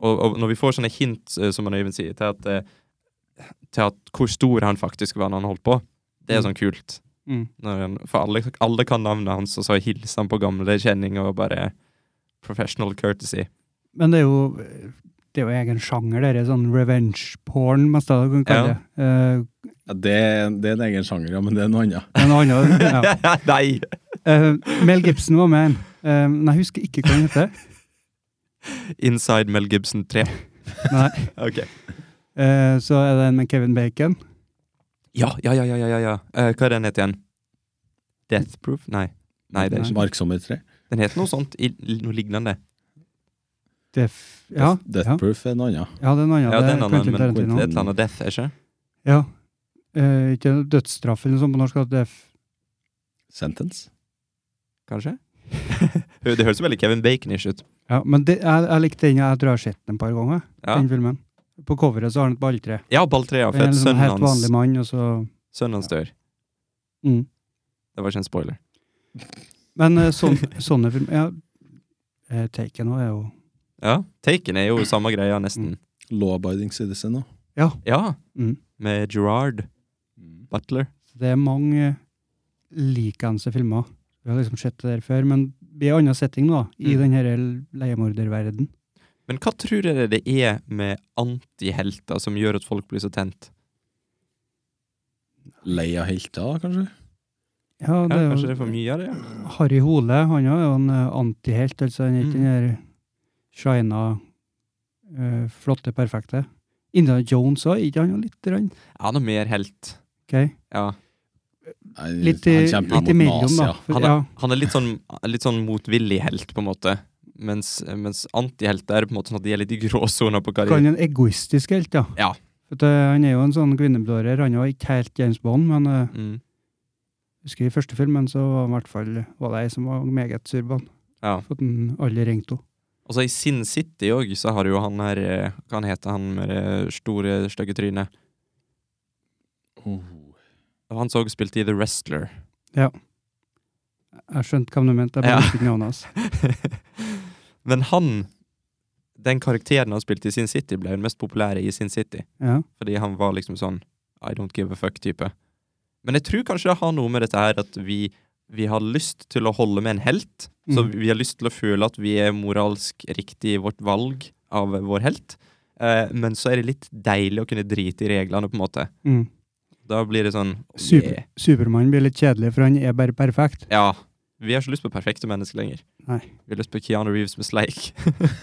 Speaker 2: Og, og når vi får sånne hint, eh, som han Øyvind sier, til at, eh, til at hvor stor han faktisk var når han holdt på, det er
Speaker 1: Mm.
Speaker 2: sånn kult.
Speaker 1: Mm.
Speaker 2: Når han, for alle, alle kan navnet hans, og så hilser han på gamle kjenninger og bare Professional courtesy.
Speaker 1: Men det er jo det er jo egen sjanger, det er sånn revenge porn, mest av det kan kalle det. Eh,
Speaker 3: Ja, det, det er en egen sjanger, ja, men det er noe annet.
Speaker 1: en annen, ja.
Speaker 2: Nei!
Speaker 1: Eh, Mel Gibson var med en. Eh, men jeg husker ikke hva han heter.
Speaker 2: Inside Mel Gibson 3.
Speaker 1: Nei.
Speaker 2: Ok.
Speaker 1: Eh, så er det en med Kevin Bacon.
Speaker 2: Ja, ja, ja, ja, ja, ja. ja. Eh, hva er den het igjen? Death Proof? Nei. Nei, det er ikke.
Speaker 3: Marksommer 3.
Speaker 2: Den heter noe sånt, i, noe lignende.
Speaker 1: Def, ja,
Speaker 3: Death, Death
Speaker 1: ja.
Speaker 3: Proof er en annen.
Speaker 1: ja, det er en annen.
Speaker 2: Ja, det er en annen,
Speaker 1: Quentin
Speaker 2: men det
Speaker 1: Tarantino.
Speaker 2: er et eller annet Death, er ikke?
Speaker 1: Ja. Eh, ikke dødsstraff eller noe sånt på norsk. at det er f-
Speaker 3: Sentence.
Speaker 2: Kanskje? det høres veldig Kevin Bacon-ish ut.
Speaker 1: Ja, men det, jeg, jeg likte den. Jeg tror jeg har sett den et par ganger.
Speaker 2: Ja,
Speaker 1: den filmen. På coveret så har han et balltre.
Speaker 2: ja Balltre, ja.
Speaker 1: Det er Mm.
Speaker 2: For
Speaker 1: en
Speaker 2: at
Speaker 1: sånn
Speaker 2: sønnen
Speaker 1: helt
Speaker 2: hans,
Speaker 1: vanlig mann, og så
Speaker 2: sønnen hans dør.
Speaker 1: mm.
Speaker 2: Det var ikke en spoiler.
Speaker 1: Men eh, sånn, sånne filmer Ja, eh, Taken òg er jo
Speaker 2: Ja, Taken er jo samme greia,
Speaker 1: Mm.
Speaker 2: nesten.
Speaker 3: Law-abiding citizen òg.
Speaker 1: Ja.
Speaker 2: Ja,
Speaker 1: Mm.
Speaker 2: med Gerard Butler.
Speaker 1: Det er mange likeanse filmer. Vi har liksom sett det der før, men i en annen setting, nå, da. I
Speaker 2: Mm.
Speaker 1: den denne leiemorderverden.
Speaker 2: Men hva tror dere det er med antihelter som gjør at folk blir så tent?
Speaker 3: Lei av helter, kanskje?
Speaker 1: Ja,
Speaker 2: Ja,
Speaker 1: det er jo
Speaker 2: kanskje det er for mye av det? ja?
Speaker 1: Harry Hole, han er jo en eh, antihelt, altså han er ikke
Speaker 2: Mm.
Speaker 1: den der shina, eh, flotte, perfekte. Indiana Jones òg, ikke han jo litt? grann?
Speaker 2: Ja, Han er mer helt.
Speaker 1: Ok.
Speaker 2: Ja.
Speaker 3: Nei,
Speaker 1: Litt, i,
Speaker 3: han kjemper jo
Speaker 1: litt
Speaker 3: mot
Speaker 1: imellom, da.
Speaker 3: Nazia.
Speaker 1: For,
Speaker 2: Han er,
Speaker 1: ja,
Speaker 2: han er litt sånn, litt sånn motvillig helt, på en måte. Mens, mens antihelter er på en måte sånn at de er litt i gråsona på hva de
Speaker 1: kan en egoistisk helt, ja.
Speaker 2: Ja.
Speaker 1: For at, eh, han er jo en sånn kvinneblårer. Han var ikke helt James Bond, men eh,
Speaker 2: mm,
Speaker 1: jeg husker i første filmen så var han i hvert fall var det ei som var meget surban.
Speaker 2: ja.
Speaker 1: For at han aldri ringte henne.
Speaker 2: Og så Altså, i Sin City òg, så har jo han her eh, Hva han heter han med det store, stygge trynet?
Speaker 3: Oh.
Speaker 2: Det var Han som også spilte i The Wrestler.
Speaker 1: Jeg skjønte hva du mente, jeg
Speaker 2: Ja.
Speaker 1: bare husker ikke navnet hans.
Speaker 2: Men han Den karakteren han spilte i Sin City, ble jo den mest populære i Sin City.
Speaker 1: Ja.
Speaker 2: Fordi han var liksom sånn I don't give a fuck-type. Men jeg tror kanskje det har noe med dette her at vi, vi har lyst til å holde med en helt. Så
Speaker 1: Mm.
Speaker 2: vi har lyst til å føle at vi er moralsk riktig i vårt valg av vår helt. Eh, men så er det litt deilig å kunne drite i reglene, på en måte.
Speaker 1: Mm.
Speaker 2: Da blir det sånn
Speaker 1: Super,
Speaker 2: yeah.
Speaker 1: Supermann blir litt kjedelig, for han er bare perfekt.
Speaker 2: Ja. Vi har ikke lyst på perfekte mennesker lenger.
Speaker 1: Nei.
Speaker 2: Vi har lyst på Keanu Reeves med sleik.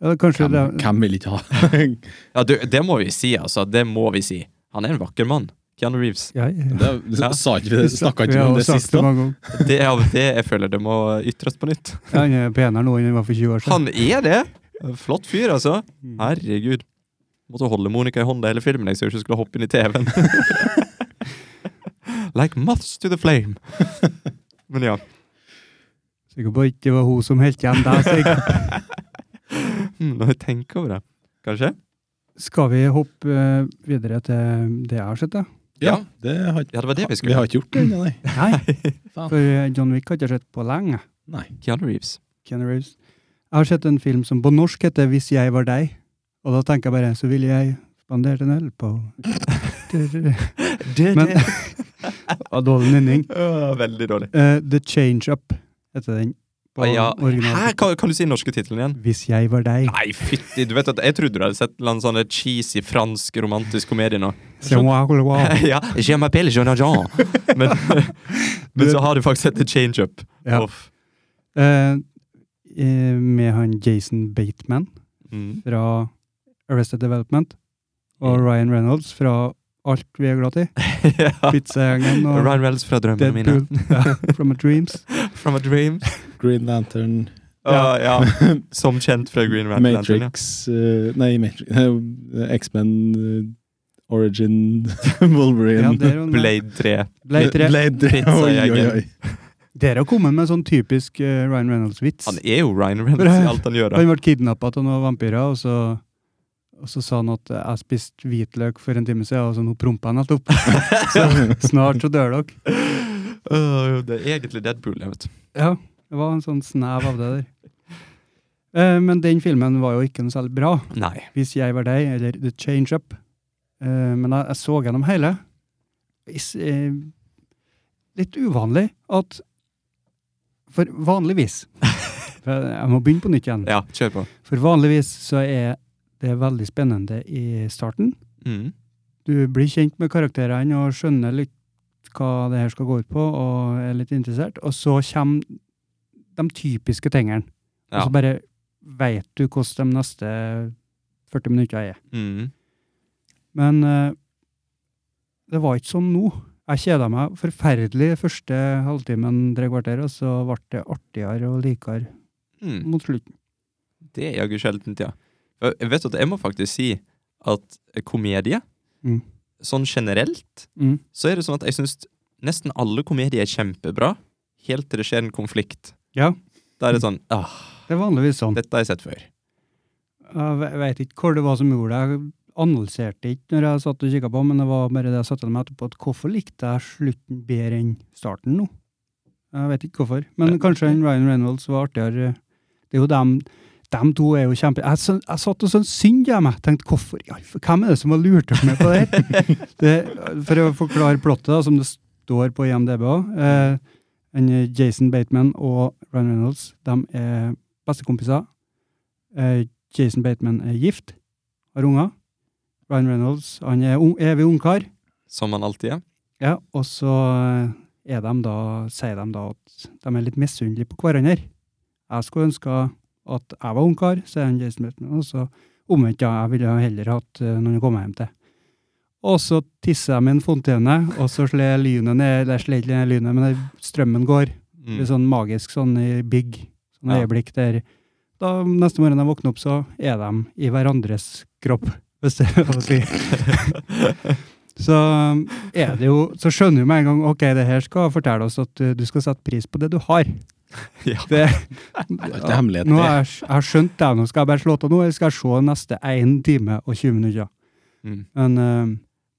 Speaker 1: Ja, kanskje
Speaker 3: Hvem,
Speaker 1: det,
Speaker 3: hvem vil ikke ha det,
Speaker 2: Ja, du, det må vi si, altså. Det må vi si. Han er en vakker mann. Keanu Reeves.
Speaker 1: ja, ja.
Speaker 2: Ja.
Speaker 3: Sa ikke liksom, vi det? Snakka ikke vi
Speaker 1: har
Speaker 3: om
Speaker 1: jo
Speaker 3: det
Speaker 1: sagt
Speaker 3: siste?
Speaker 1: mange ganger.
Speaker 2: Det er av det jeg føler det må ytres på nytt.
Speaker 1: Ja, han er penere nå enn han var for 20 år siden.
Speaker 2: Han er det! Flott fyr, altså.
Speaker 1: Mm.
Speaker 2: Herregud. Måtte holde Monica i hånda hele filmen, jeg, så hun ikke skulle hoppe inn i TV-en. like moths to the flame. Men ja.
Speaker 1: Sikker på ikke det var hun som helt igjen deg. sikkert.
Speaker 2: Hmm, Når jeg tenker over det, kanskje?
Speaker 1: Skal vi hoppe eh, videre til det jeg har sett, da?
Speaker 3: Ja, det har ikke
Speaker 2: Ja, det var det vi
Speaker 3: Vi
Speaker 2: skulle.
Speaker 3: har ikke gjort det ennå, nei.
Speaker 1: Nei,
Speaker 3: Faen.
Speaker 1: for eh, John Wick har jeg ikke sett på lenge.
Speaker 3: nei.
Speaker 2: Keanu Reeves.
Speaker 1: Keanu Reeves. Jeg har sett en film som på norsk heter 'Hvis jeg var deg', og da tenker jeg bare 'så ville jeg spandert en øl på'
Speaker 2: Det,
Speaker 1: Men- Av dårlig mening.
Speaker 2: Åh, veldig dårlig.
Speaker 1: Eh, 'The Change Up' heter den. på
Speaker 2: Å, ja.
Speaker 1: original-
Speaker 2: Hæ, kan, kan du si den norske tittelen igjen?
Speaker 1: 'Hvis jeg var deg'.
Speaker 2: Nei, fytti! Du vet at Jeg trodde du hadde sett en eller annen sånn cheesy fransk romantisk komedie nå.
Speaker 1: C'est moi, c'est moi.
Speaker 2: ja, Ah. Je m'appelle Jean Jean. Men, men så har du faktisk sett The Change Up.
Speaker 1: Ja.
Speaker 2: Uff.
Speaker 1: Eh, eh, med han Jason Bateman.
Speaker 2: Mm.
Speaker 1: fra Arrested Development, og Ryan Reynolds fra alt vi er glad i.
Speaker 2: ja.
Speaker 1: Pizzagjengen og
Speaker 2: Ryan Reynolds fra drømmene mine.
Speaker 1: Deadpool. Ja, From a Dreams.
Speaker 2: From a dream. Ah,
Speaker 3: Green Lantern,
Speaker 2: Ja. ja. Som kjent fra Green Rat Lantern.
Speaker 3: Matrix eh, Nei, Matrix eh, X-Men eh, Origin Wolverine.
Speaker 1: Ja, det er jo
Speaker 2: Ja.
Speaker 1: en-
Speaker 2: Blade 3.
Speaker 1: Blade 3.
Speaker 3: Blade 3.
Speaker 2: Pizza
Speaker 3: Oi, oi,
Speaker 2: Jager.
Speaker 3: oi.
Speaker 1: Dere har kommet med sånn typisk eh, Ryan Reynolds-vits.
Speaker 2: Han er jo Ryan Reynolds i alt han gjør. da.
Speaker 1: Han ble kidnappa av noen vampyrer, og så, og så sa han at eh, 'jeg spiste hvitløk for en time siden', og så nå prompa han nettopp. Så snart så dør dere.
Speaker 2: Åh, Ah, det er egentlig Deadpool, jeg vet.
Speaker 1: Ja, det var en sånn snev av det der. Eh, Men den filmen var jo ikke noe særlig bra.
Speaker 2: Nei.
Speaker 1: Hvis jeg var deg, eller The Change Up. Eh, men jeg, jeg så gjennom hele. Is, eh, litt uvanlig at For vanligvis for Jeg jeg må begynne på nytt igjen.
Speaker 2: Ja, kjør på.
Speaker 1: For vanligvis så er det veldig spennende i starten.
Speaker 2: Mm.
Speaker 1: Du blir kjent med karakterene og skjønner litt hva det her skal gå ut på, og er litt interessert. Og så kommer de typiske tingene.
Speaker 2: Ja.
Speaker 1: Og så bare veit du hvordan de neste 40 minuttene er.
Speaker 2: Mm.
Speaker 1: Men eh, det var ikke sånn nå. Jeg kjeda meg forferdelig første halvtimen, tre kvarter, og så ble det artigere og likere
Speaker 2: Hmm.
Speaker 1: mot slutten.
Speaker 2: Det er jaggu sjeldent, ja. Jeg jeg vet at jeg må faktisk si at komedie,
Speaker 1: Mm.
Speaker 2: sånn generelt,
Speaker 1: Mm.
Speaker 2: så er det sånn at jeg syns nesten alle komedier er kjempebra, helt til det skjer en konflikt.
Speaker 1: Ja.
Speaker 2: Da er det sånn ah,
Speaker 1: Det er vanligvis sånn.
Speaker 2: dette har jeg sett før.
Speaker 1: Jeg ve- vet ikke hvor det var som gjorde det. Jeg analyserte ikke når jeg satt og kikka på, men det var bare det jeg satte meg etterpå, at hvorfor likte jeg slutten bedre enn starten nå? Jeg vet ikke hvorfor. Men
Speaker 2: Nei.
Speaker 1: kanskje en Ryan Reynolds var artigere. Det er jo dem, dem to er jo kjempe... Jeg, syn- jeg satt og syntes synd på meg. Tenkte hvorfor? i all ver- Hvem er det som har lurt oss med på det? her? det for å forklare plottet, da, som det står på IMDb òg. Eh, en Jason Bateman og Ryan Reynolds de er bestekompiser. Eh, Jason Bateman er gift, har unger. Ryan Reynolds han er ung, evig ungkar.
Speaker 2: Som man alltid er.
Speaker 1: Ja, og så eh, er de da, sier de da at de er litt misunnelige på hverandre. Jeg skulle ønske at jeg var ungkar, sier han Jason Bateman. Og så omvendt, ja, jeg ville heller hatt eh, noen å komme hjem til. Og så tisser jeg med en fontene, og så slår lynet ned, eller slår ikke ned lynet, men strømmen går.
Speaker 2: Mm.
Speaker 1: Det er sånn magisk, sånn i big, sånn
Speaker 2: Ja.
Speaker 1: øyeblikk der da neste morgen jeg våkner opp, så er de i hverandres kropp, hvis det er lov å si. Så er det jo, så skjønner du med en gang, ok, det her skal fortelle oss at uh, du skal sette pris på det du har.
Speaker 2: Ja.
Speaker 1: sånn. Det,
Speaker 3: er alltid hemmelighet,
Speaker 1: Nå
Speaker 3: det.
Speaker 1: har jeg, jeg har skjønt det, nå skal jeg bare slå til nå, eller skal jeg se neste 1 time og 20 minutter.
Speaker 2: Mm.
Speaker 1: Men eh,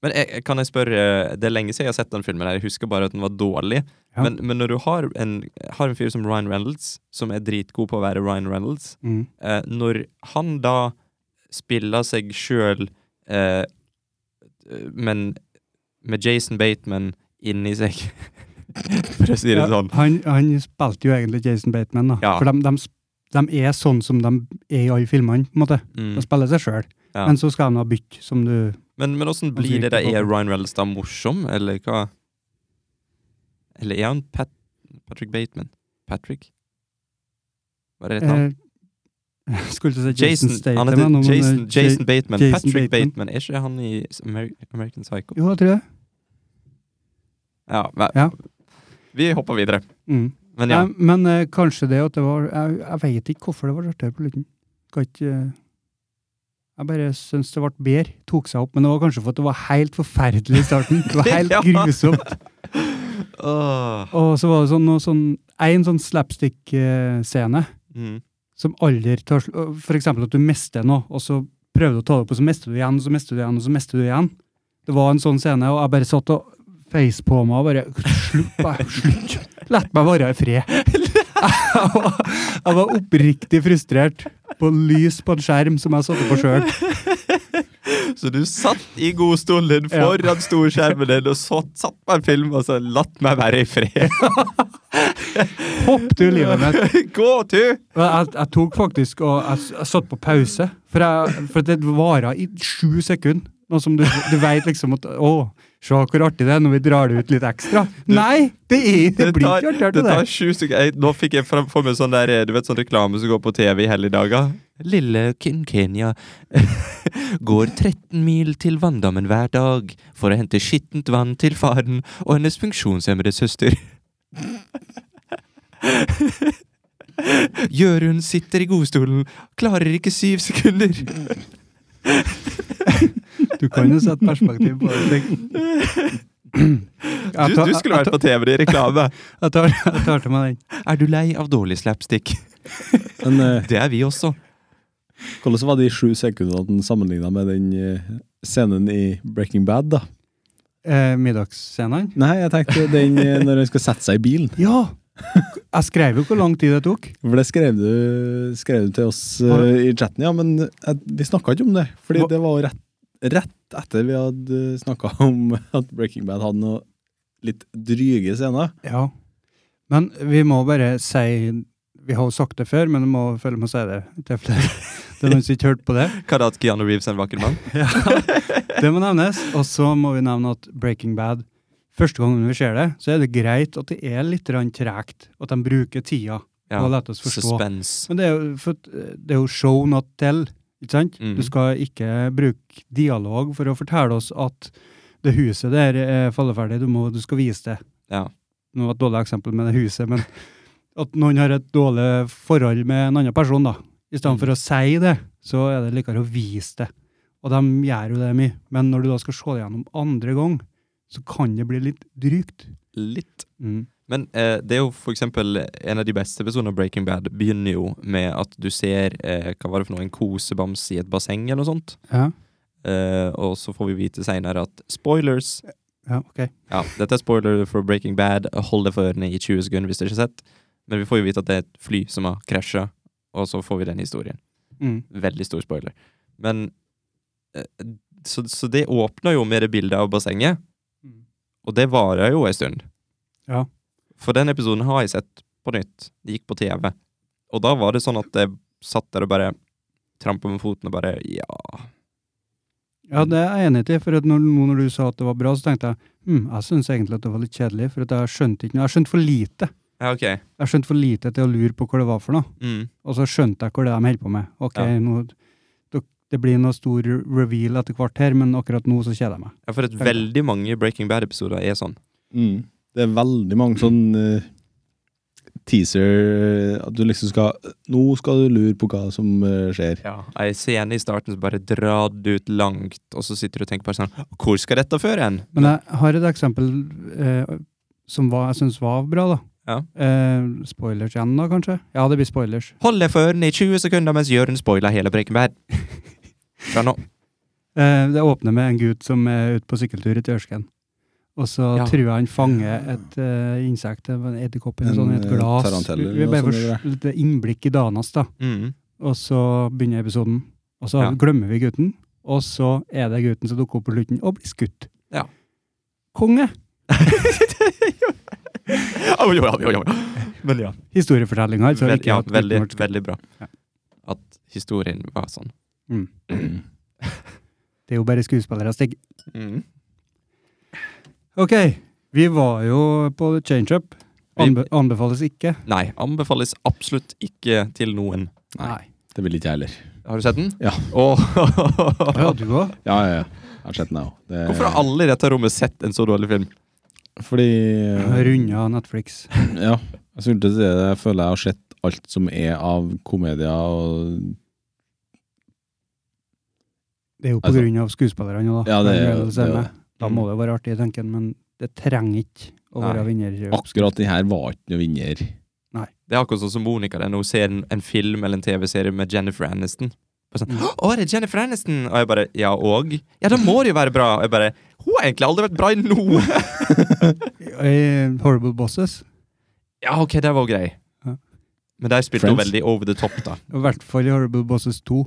Speaker 2: Men jeg, jeg- kan jeg spørre, eh, det er lenge siden jeg har sett den filmen, her, jeg husker bare at den var dårlig.
Speaker 1: Ja.
Speaker 2: Men, men når du har en, har en fyr som Ryan Reynolds, som er dritgod på å være Ryan Reynolds,
Speaker 1: mm,
Speaker 2: eh, når han da spiller seg sjøl, eh, men med Jason Bateman inni seg, for å si det
Speaker 1: ja,
Speaker 2: sånn
Speaker 1: han, han spilte jo egentlig Jason Bateman, da.
Speaker 2: Ja.
Speaker 1: For de, de, sp- de er sånn som de er i alle filmene, på en måte. De
Speaker 2: mm.
Speaker 1: spiller seg sjøl.
Speaker 2: Ja.
Speaker 1: Men så skal de ha bytte, som du
Speaker 2: Men, men
Speaker 1: Altså,
Speaker 2: åssen blir det da? Er Ryan Reynolds da morsom, eller hva? Eller er han Pat Patrick Bateman? Patrick? Hva er det et navn?
Speaker 1: eh, Skulle til å si
Speaker 2: Jason,
Speaker 1: Jason Statham.
Speaker 2: han
Speaker 1: ja, nå, men,
Speaker 2: heter
Speaker 1: eh,
Speaker 2: Jason,
Speaker 1: Ja-
Speaker 2: Jason Bateman.
Speaker 1: Jason
Speaker 2: Patrick
Speaker 1: Bateman.
Speaker 2: Bateman. Er ikke han i Ameri- American Psycho?
Speaker 1: Jo, jeg tror det.
Speaker 2: Ja, nei.
Speaker 1: Ja.
Speaker 2: Vi hopper videre.
Speaker 1: Mm.
Speaker 2: Men ja.
Speaker 1: Ja. Men eh, kanskje det at det var Jeg, jeg veit ikke hvorfor det var artigere på slutten. Kan ikke eh, Jeg bare syns det ble bedre. Tok seg opp. Men det var kanskje for at det var helt forferdelig i starten. Det var helt
Speaker 2: Ja.
Speaker 1: grusomt.
Speaker 2: Åh.
Speaker 1: Og så var det sånn, noe sånn en sånn eh, slapstick-scene
Speaker 2: Mm.
Speaker 1: som aldri tar sl- øh, For eksempel at du mister noe, og så prøver du å ta det opp, og så mister du igjen, og så mister du igjen, og så mister du igjen. Det var en sånn scene, og jeg bare satt og feis på meg og bare Slutt! bare, slutt. Lett meg være i fred. Jeg var, jeg var oppriktig frustrert på lys på en skjerm som jeg satte på sjøl.
Speaker 2: Så du satt i godstolen din
Speaker 1: Ja.
Speaker 2: foran storskjermen din og så satt på en film og så latt meg være i fred.
Speaker 1: Hoppet i livet mitt.
Speaker 2: Gå tur!
Speaker 1: Og Jeg, jeg tok faktisk og jeg, s- jeg satt på pause, for, jeg, for det varer i sju sekunder. Noe som du, du vet liksom at Å, se hvor artig det er når vi drar det ut litt ekstra. Nei! Det, er, det blir
Speaker 2: tar-
Speaker 1: ikke artigere
Speaker 2: det
Speaker 1: til det.
Speaker 2: tar sju stykker jeg, Nå fikk jeg frem for meg sånn der eh, Du vet sånn reklame som går på TV i helligdager? Lille Kim Kenya går 13 mil til vanndammen hver dag for å hente skittent vann til faren og hennes funksjonshemmede søster. Jørund sitter i godstolen, klarer ikke syv sekunder.
Speaker 1: Du kan jo sette perspektiv på det. Jeg
Speaker 2: Du,
Speaker 1: tar,
Speaker 2: du skulle vært på TV i reklame.
Speaker 1: jeg tar, jeg tar til meg den.
Speaker 2: Er du lei av dårlig slapstick?
Speaker 3: Men eh,
Speaker 2: Det er vi også.
Speaker 3: hvordan var de sju sekundene sammenligna med den eh, scenen i Breaking Bad, da?
Speaker 1: Eh, middagsscenen.
Speaker 3: Nei, jeg tenkte den eh, når han skal sette seg i bilen.
Speaker 1: Ja! Jeg skrev jo hvor lang tid det tok.
Speaker 3: For det skrev du, skrev du til oss
Speaker 1: Har
Speaker 3: eh, i chatten, ja, men eh, vi snakka ikke om det. Fordi
Speaker 1: Hva-
Speaker 3: det var rett, rett etter vi hadde snakka om at Breaking Bad hadde noe litt dryge scener.
Speaker 1: Ja. Men vi må bare si Vi har jo sagt det før, men vi må følge med å si det til flere. Det er noen som ikke hørte på det.
Speaker 2: Hva da, at Keanu Reeves er en vakker mann?
Speaker 1: Det må nevnes. Og så må vi nevne at Breaking Bad Første gangen vi ser det, så er det greit at det er litt grann tregt. At de bruker tida på
Speaker 2: Ja.
Speaker 1: å la oss forstå.
Speaker 2: Suspens.
Speaker 1: Men det er, jo, for, at det er jo show not tell, ikke sant?
Speaker 2: Mm.
Speaker 1: Du skal ikke bruke dialog for å fortelle oss at det huset der er falleferdig, du, må, du skal vise det.
Speaker 2: Ja.
Speaker 1: Nå var det et dårlig eksempel med det huset, men at noen har et dårlig forhold med en annen person, da. I stedet for å si det, så er det likere å vise det. Og de gjør jo det mye. Men når du da skal se det gjennom andre gang, så kan det bli litt drygt.
Speaker 2: Litt.
Speaker 1: Mm.
Speaker 2: Men eh, det er jo for eksempel en av de beste episodene av Breaking Bad begynner jo med at du ser eh, hva var det for noe, en kosebams i et basseng eller noe sånt.
Speaker 1: Ja.
Speaker 2: Eh, og så får vi vite seinere at spoilers
Speaker 1: ja, ok.
Speaker 2: Ja, dette er spoiler for Breaking Bad. Hold det for ørene i 20 sekunder hvis dere ikke har sett. Men vi får jo vite at det er et fly som har krasja, og så får vi den historien.
Speaker 1: Mm.
Speaker 2: Veldig stor spoiler. Men eh, Så, så det åpna jo med det bildet av bassenget,
Speaker 1: Mm.
Speaker 2: og det varer jo ei stund.
Speaker 1: Ja.
Speaker 2: For den episoden har jeg sett på nytt. Det gikk på TV. Og da var det sånn at jeg satt der og bare trampa med foten og bare Ja.
Speaker 1: Ja, det er jeg enig i. For at når, nå når du sa at det var bra, så tenkte jeg hm, jeg syns egentlig at det var litt kjedelig, for at jeg skjønte ikke noe. Jeg skjønte for lite.
Speaker 2: Ja, OK.
Speaker 1: Jeg skjønte for lite til å lure på hva det var for noe.
Speaker 2: Mm.
Speaker 1: Og så skjønte jeg hvor det er de holder på med. Ok,
Speaker 2: Ja.
Speaker 1: nå, dok- det blir noe stor reveal etter hvert her, men akkurat nå så kjeder jeg meg.
Speaker 2: Ja, for at veldig mange Breaking Bad-episoder er sånn.
Speaker 3: Mm. Det er veldig mange sånn eh, teaser At du liksom skal Nå skal du lure på hva som eh, skjer.
Speaker 2: Ja, ei scene i starten som bare drar det ut langt, og så sitter du og tenker bare sånn Hvor skal dette føre hen?
Speaker 1: Men jeg har et eksempel eh, som var, jeg syns var bra, da.
Speaker 2: Ja.
Speaker 1: Eh, spoilers igjen, da, kanskje? Ja, det blir spoilers.
Speaker 2: Hold deg for ørene i 20 sekunder mens Jørund spoiler hele Breaking Bad. Fra nå.
Speaker 1: Eh, det åpner med en gutt som er ute på sykkeltur ute i Ørsken. Og så
Speaker 2: Ja.
Speaker 1: tror jeg han fanger et eh, insekt, en edderkopp eller
Speaker 3: En,
Speaker 1: noe sånt, i et
Speaker 3: eh,
Speaker 1: glass.
Speaker 3: tarantell eller
Speaker 1: Vi
Speaker 3: noe
Speaker 1: bare
Speaker 3: sånt,
Speaker 1: får
Speaker 3: eller?
Speaker 1: litt innblikk i dagen hans, da.
Speaker 2: Mm.
Speaker 1: Og så begynner episoden. Og så
Speaker 2: Ja.
Speaker 1: glemmer vi gutten, og så er det gutten som dukker opp på slutten og blir skutt.
Speaker 2: Ja.
Speaker 1: Konge!
Speaker 2: Au, jo, au, jo, jo. Men ja.
Speaker 1: Historiefortellinga, altså.
Speaker 2: Vel,
Speaker 1: ikke
Speaker 2: ja
Speaker 1: at gutten
Speaker 2: veldig,
Speaker 1: ble skutt.
Speaker 2: veldig bra.
Speaker 1: Ja.
Speaker 2: At historien var sånn.
Speaker 1: Mm. Det
Speaker 3: Mm.
Speaker 1: er jo bare skuespillere, Stig.
Speaker 2: Mm.
Speaker 1: Ok, vi var jo på changeup.
Speaker 2: Vi-
Speaker 1: Anbe anbefales ikke.
Speaker 2: Nei, anbefales absolutt ikke til noen.
Speaker 3: Nei. Det vil ikke jeg heller.
Speaker 2: Har du sett den?
Speaker 3: Ja.
Speaker 1: Å Ja, du òg?
Speaker 3: Ja, ja, ja. Jeg har sett den, jeg òg. Det-
Speaker 2: Hvorfor har alle i dette rommet sett en så dårlig film?
Speaker 3: Fordi eh,
Speaker 1: Runda Netflix.
Speaker 3: Ja. Jeg skulle til å si det. Jeg føler jeg har sett alt som er av komedier og
Speaker 1: Det er jo på
Speaker 3: Altså-
Speaker 1: grunn av skuespillerne, da.
Speaker 3: Ja, det er-
Speaker 1: Reynolds er
Speaker 3: det er
Speaker 1: med.
Speaker 3: det.
Speaker 1: Da må det jo være artig, tenker jeg, men det trenger ikke å være vinner.
Speaker 3: Akkurat den her var ikke noen vinner.
Speaker 2: Det er akkurat sånn som Monica der, når hun ser en, en film eller en TV-serie med Jennifer Aniston. Bare sånn,
Speaker 1: Mm.
Speaker 2: Å, det er Jennifer Aniston! Og jeg bare Ja, og? Ja, da må det jo være bra! Og jeg bare Hun har egentlig aldri vært bra i noe!
Speaker 1: Eh, Horrible Bosses.
Speaker 2: ja, OK, det var grei.
Speaker 1: Ja.
Speaker 2: Men der spilte hun
Speaker 3: Friends.
Speaker 2: veldig over the top, da.
Speaker 1: I hvert fall i Horrible Bosses 2.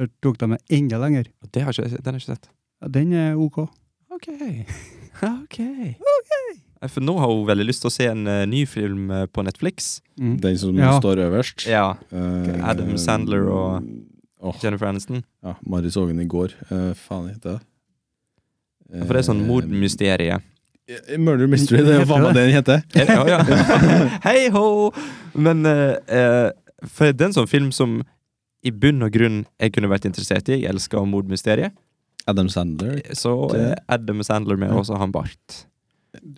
Speaker 1: Der tok de det enda lenger.
Speaker 2: Og Det har ikke, den har jeg ikke sett.
Speaker 1: Ja, den er OK.
Speaker 2: OK. OK. Nei, For nå har hun veldig lyst til å se en eh, ny film eh, på Netflix.
Speaker 1: Mm.
Speaker 3: Den som
Speaker 1: Ja.
Speaker 3: står øverst.
Speaker 2: Ja.
Speaker 3: eh,
Speaker 2: Adam Sandler og-
Speaker 3: Åh,
Speaker 2: Jennifer Aniston.
Speaker 3: ja, Mari så den i går. Eh, faen heter det? Eh,
Speaker 2: For det er sånn mordmysterie.
Speaker 3: Eh, Murder Mystery, det er faen meg det den heter.
Speaker 2: Er det- Ja, ja. Hei ho! Men eh, eh, for det er en sånn film som i bunn og grunn jeg kunne vært interessert i. Jeg elsker mordmysteriet.
Speaker 3: Adam Sandler.
Speaker 2: Så er Adam Sandler med, og så har han bart.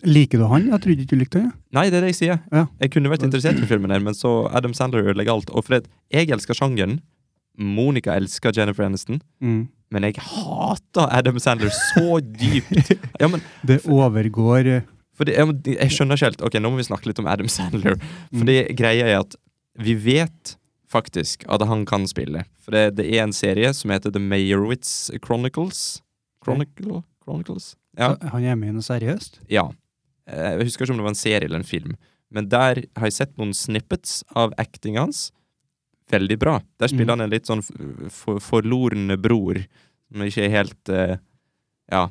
Speaker 1: Liker du han? Jeg trodde ikke du likte han. jeg.
Speaker 2: Nei, det er det jeg sier.
Speaker 1: Ja.
Speaker 2: Jeg kunne vært interessert i filmen, her, men så Adam Sandler ødelegger alt. Og Fred, jeg elsker sjangeren. Monica elsker Jennifer Aniston.
Speaker 3: Mm.
Speaker 2: Men jeg hater Adam Sandler så dypt. Ja, men
Speaker 1: Det overgår eh,
Speaker 2: For det, ja, men jeg skjønner ikke helt Ok, nå må vi snakke litt om Adam Sandler. Fordi greia er at vi vet faktisk at han kan spille. For det, det er en serie som heter The Mayorwitz Chronicles. Chronicle? Chronicles? Ja.
Speaker 1: Han er med i noe seriøst?
Speaker 2: ja. Eh, Jeg husker ikke om det var en serie eller en film. Men der har jeg sett noen snippets av acting hans. Veldig bra. Der
Speaker 1: Mhm.
Speaker 2: spiller han en litt sånn f- for, forlorne bror, som ikke er helt eh, Ja.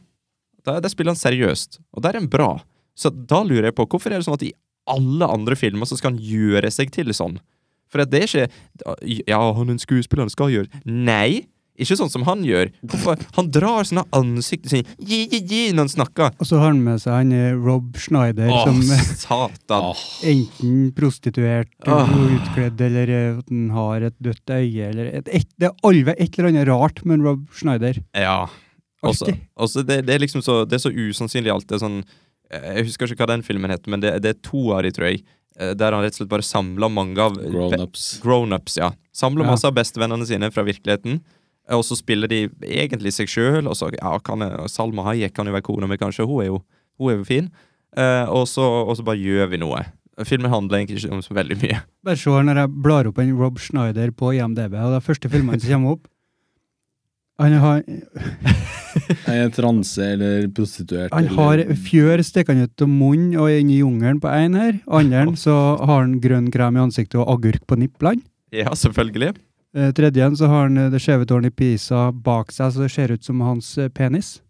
Speaker 2: Der, der spiller han seriøst, og der er han bra. Så da lurer jeg på, hvorfor er det sånn at i alle andre filmer så skal han gjøre seg til sånn? For at det er ikke Ja, han er en skuespiller, han skal gjøre Nei! Ikke sånn som han gjør. Hvorfor? Han drar sånne ansikter sine gi, gi, gi, når han snakker.
Speaker 1: Og så har han med seg han eh, Rob Schneider,
Speaker 2: Åh,
Speaker 1: som eh,
Speaker 2: satan.
Speaker 1: enten prostituert
Speaker 2: Åh.
Speaker 1: og utkledd, eller eh, at han har et dødt øye, eller et, et, Det er alve et eller annet rart med en Rob Schneider.
Speaker 2: Ja. Også,
Speaker 1: Alltid.
Speaker 2: også det, det er liksom så, det er så usannsynlig alt. Det er sånn, eh, jeg husker ikke hva den filmen heter, men det, det er to av de, tror jeg. eh, Der han rett og slett bare samla mange av
Speaker 3: Grownups.
Speaker 2: Grownups, ja. Samler
Speaker 1: Ja.
Speaker 2: masse av bestevennene sine fra virkeligheten. eh, Og så spiller de egentlig seg sjøl. Ja, kan jeg- Salma Hayek kan jo være kona mi, kanskje. Hun er jo, hun er jo fin. Eh, og, så, og så bare gjør vi noe. Filmen handler egentlig ikke om så veldig mye.
Speaker 1: Bare se her når jeg blar opp en Rob Schneider på IMDb, og det er første filmen som kommer opp. Han har,
Speaker 3: Jeg er transe eller prostituert.
Speaker 1: han har
Speaker 3: eller-
Speaker 1: fjør stikkende ut av munnen og er inne i jungelen på én her. Andren så har han grønn krem i ansiktet og agurk på nipplene.
Speaker 2: Ja, selvfølgelig.
Speaker 1: Eh, Tredjen så har han eh, det skjeve tårnet i Pisa bak seg, så det ser ut som hans eh, penis.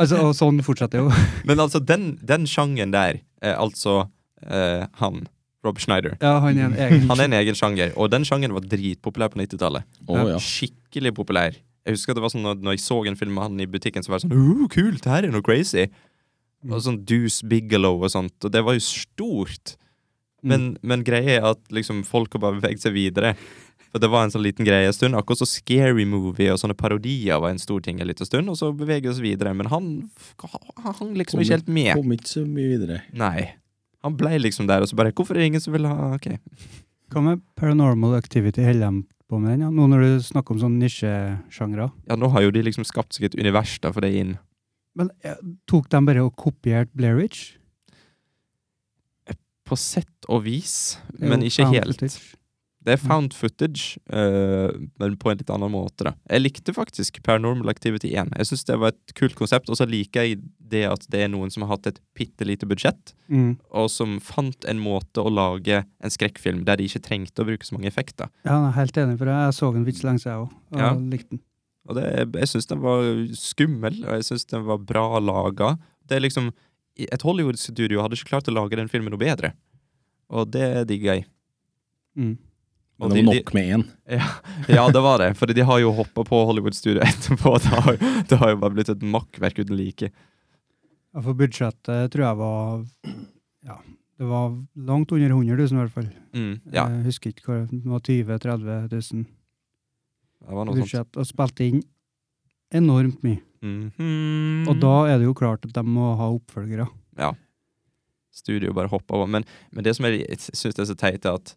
Speaker 1: Altså, og sånn fortsetter jo.
Speaker 2: Men altså, den, den sjangen der, eh, altså eh, han, Rob Schneider
Speaker 1: Ja, han er en egen
Speaker 2: Han er en egen sjanger, og den sjangeren var dritpopulær på 90-tallet.
Speaker 3: Å, ja.
Speaker 2: Skikkelig populær. Jeg husker at det var sånn når, når jeg så en film med han i butikken, så var det sånn Ooh, kult, her er noe crazy. Og sånn Deuce Bigelow og sånt, og det var jo stort. Men, men greia er at liksom folk har bare beveget seg videre. For det var en sånn liten greie en stund. Akkurat så Scary Movie og sånne parodier var en stor ting en liten stund, og så beveger vi oss videre. Men han, han hang liksom ikke helt med.
Speaker 3: Kom ikke så mye videre.
Speaker 2: Nei. Han ble liksom der, og så bare Hvorfor er det ingen som vil ha OK.
Speaker 1: Hva med Paranormal Activity holder de på med den? Ja? Nå når du snakker om sånne nisjesjangre.
Speaker 2: Ja, nå har jo de liksom skapt seg et univers da for det inn.
Speaker 1: Men eh, tok de bare og kopierte Blairwich?
Speaker 2: På sett og vis, men ikke helt. Det er found footage, eh, men på en litt annen måte, da. Jeg likte faktisk Paranormal Activity 1. Jeg syns det var et kult konsept, og så liker jeg det at det er noen som har hatt et bitte lite budsjett,
Speaker 1: Mm.
Speaker 2: og som fant en måte å lage en skrekkfilm der de ikke trengte å bruke så mange effekter.
Speaker 1: Ja, jeg er helt enig, for jeg så den for ikke så lenge siden jeg òg, og
Speaker 2: Ja.
Speaker 1: likte den.
Speaker 2: Og det, jeg syns den var skummel, og jeg syns den var bra laga. Det er liksom Et Hollywood-studio hadde ikke klart å lage den filmen noe bedre, og det digger jeg.
Speaker 1: Mm.
Speaker 2: Og
Speaker 3: Men det var nok med én.
Speaker 2: ja, det var det, for de har jo hoppa på Hollywood-studio etterpå. Det har, jo- det har jo bare blitt et makkverk uten like.
Speaker 1: Ja, for budsjettet tror jeg var Ja, det var langt under 100 000 i hvert fall.
Speaker 2: Mm, ja,
Speaker 1: Jeg husker ikke hva det var, 20 000-30 000
Speaker 2: det var noe sånt.
Speaker 1: budsjett, og spilte inn enormt mye.
Speaker 2: Mhm.
Speaker 1: Og da er det jo klart at de må ha oppfølgere.
Speaker 2: studio bare hopper over. Men, men det som jeg syns er så teit, er at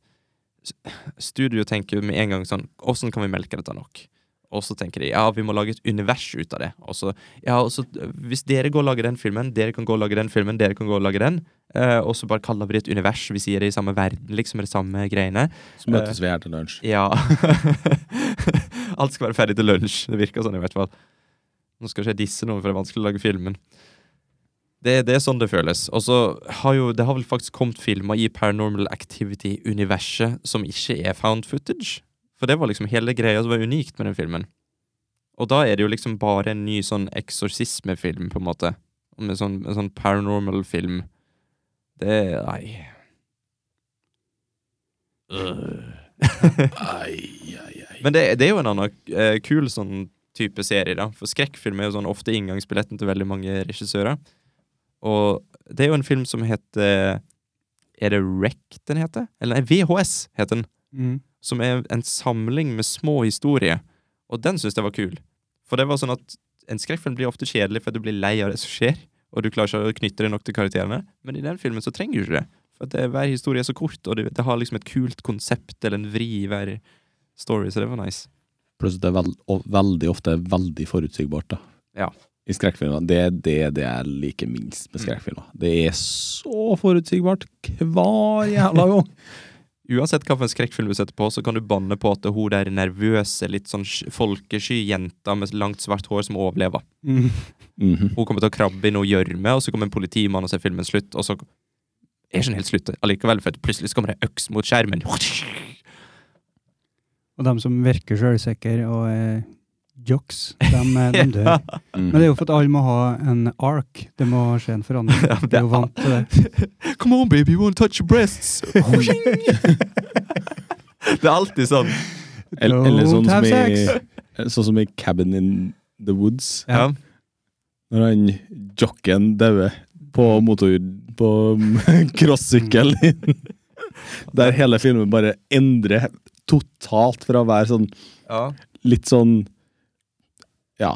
Speaker 2: s- studio tenker jo med en gang sånn Åssen kan vi melke dette nok? Og så tenker de ja, vi må lage et univers ut av det. Og så, ja, og så Hvis dere går og lager den filmen, dere kan gå og lage den filmen, dere kan gå og lage den. Eh, og så bare kaller vi det et univers. Vi sier det i samme verden, liksom. Det samme greiene.
Speaker 3: Så
Speaker 2: Eh.
Speaker 3: møtes vi her til lunsj.
Speaker 2: Ja. Alt skal være ferdig til lunsj. Det virker sånn i hvert fall. Nå skal ikke jeg disse noen, for det er vanskelig å lage filmen. Det, det er sånn det føles. Og så har jo Det har vel faktisk kommet filmer i Paranormal Activity-universet som ikke er found footage. For det var liksom hele greia som var unikt med den filmen. Og da er det jo liksom bare en ny sånn eksorsismefilm, på en måte. Med sånn, en sånn paranormal film. Det Nei. Øh.
Speaker 3: Ai, ai, ai.
Speaker 2: Men det, det er jo en annen eh, kul sånn type serie, da. For skrekkfilm er jo sånn ofte inngangsbilletten til veldig mange regissører. Og det er jo en film som heter Er det REC den heter? Eller nei, VHS heter den. Som er en samling med små historier. Og den syns jeg var kul. For det var sånn at en skrekkfilm blir ofte kjedelig fordi du blir lei av det som skjer, og du klarer ikke å knytte det nok til karakterene. Men i den filmen så trenger du ikke det. For at det, hver historie er så kort, og det, det har liksom et kult konsept eller en vri i hver story, så det var nice.
Speaker 3: Pluss at det er vel- og veldig ofte veldig forutsigbart. da
Speaker 2: Ja.
Speaker 3: I skrekkfilmer. Det er det, det jeg liker minst med
Speaker 2: Mm.
Speaker 3: skrekkfilmer. Det er så forutsigbart hver jævla gang!
Speaker 2: Uansett hvilken skrekkfilm du setter på, så kan du banne på at hun der nervøse, litt sånn sj- folkesky jenta med langt, svart hår som overlever.
Speaker 1: Mm.
Speaker 3: Mhm.
Speaker 2: Hun kommer til å krabbe i noe gjørme, og så kommer en politimann og ser filmen slutt, og så er ikke den helt slutt allikevel, for at plutselig så kommer det øks mot skjermen.
Speaker 1: Og de som virker sjølsikre og er jocks, de, de dør.
Speaker 3: Mm.
Speaker 1: Men det er jo for at alle må ha en ark. Det må skje en forandring.
Speaker 2: Ja,
Speaker 1: Vi er jo vant til det.
Speaker 2: Come on, baby, you won't touch your breasts. det er alltid sånn.
Speaker 3: Eller, eller sånn,
Speaker 1: Don't
Speaker 3: som
Speaker 1: have
Speaker 3: i,
Speaker 1: sex.
Speaker 3: sånn som i Cabin in the Woods,
Speaker 2: Ja.
Speaker 3: når han jocken dauer på motor... på crossykkel. Der hele filmen bare endrer totalt fra å være sånn
Speaker 2: Ja.
Speaker 3: litt sånn Ja.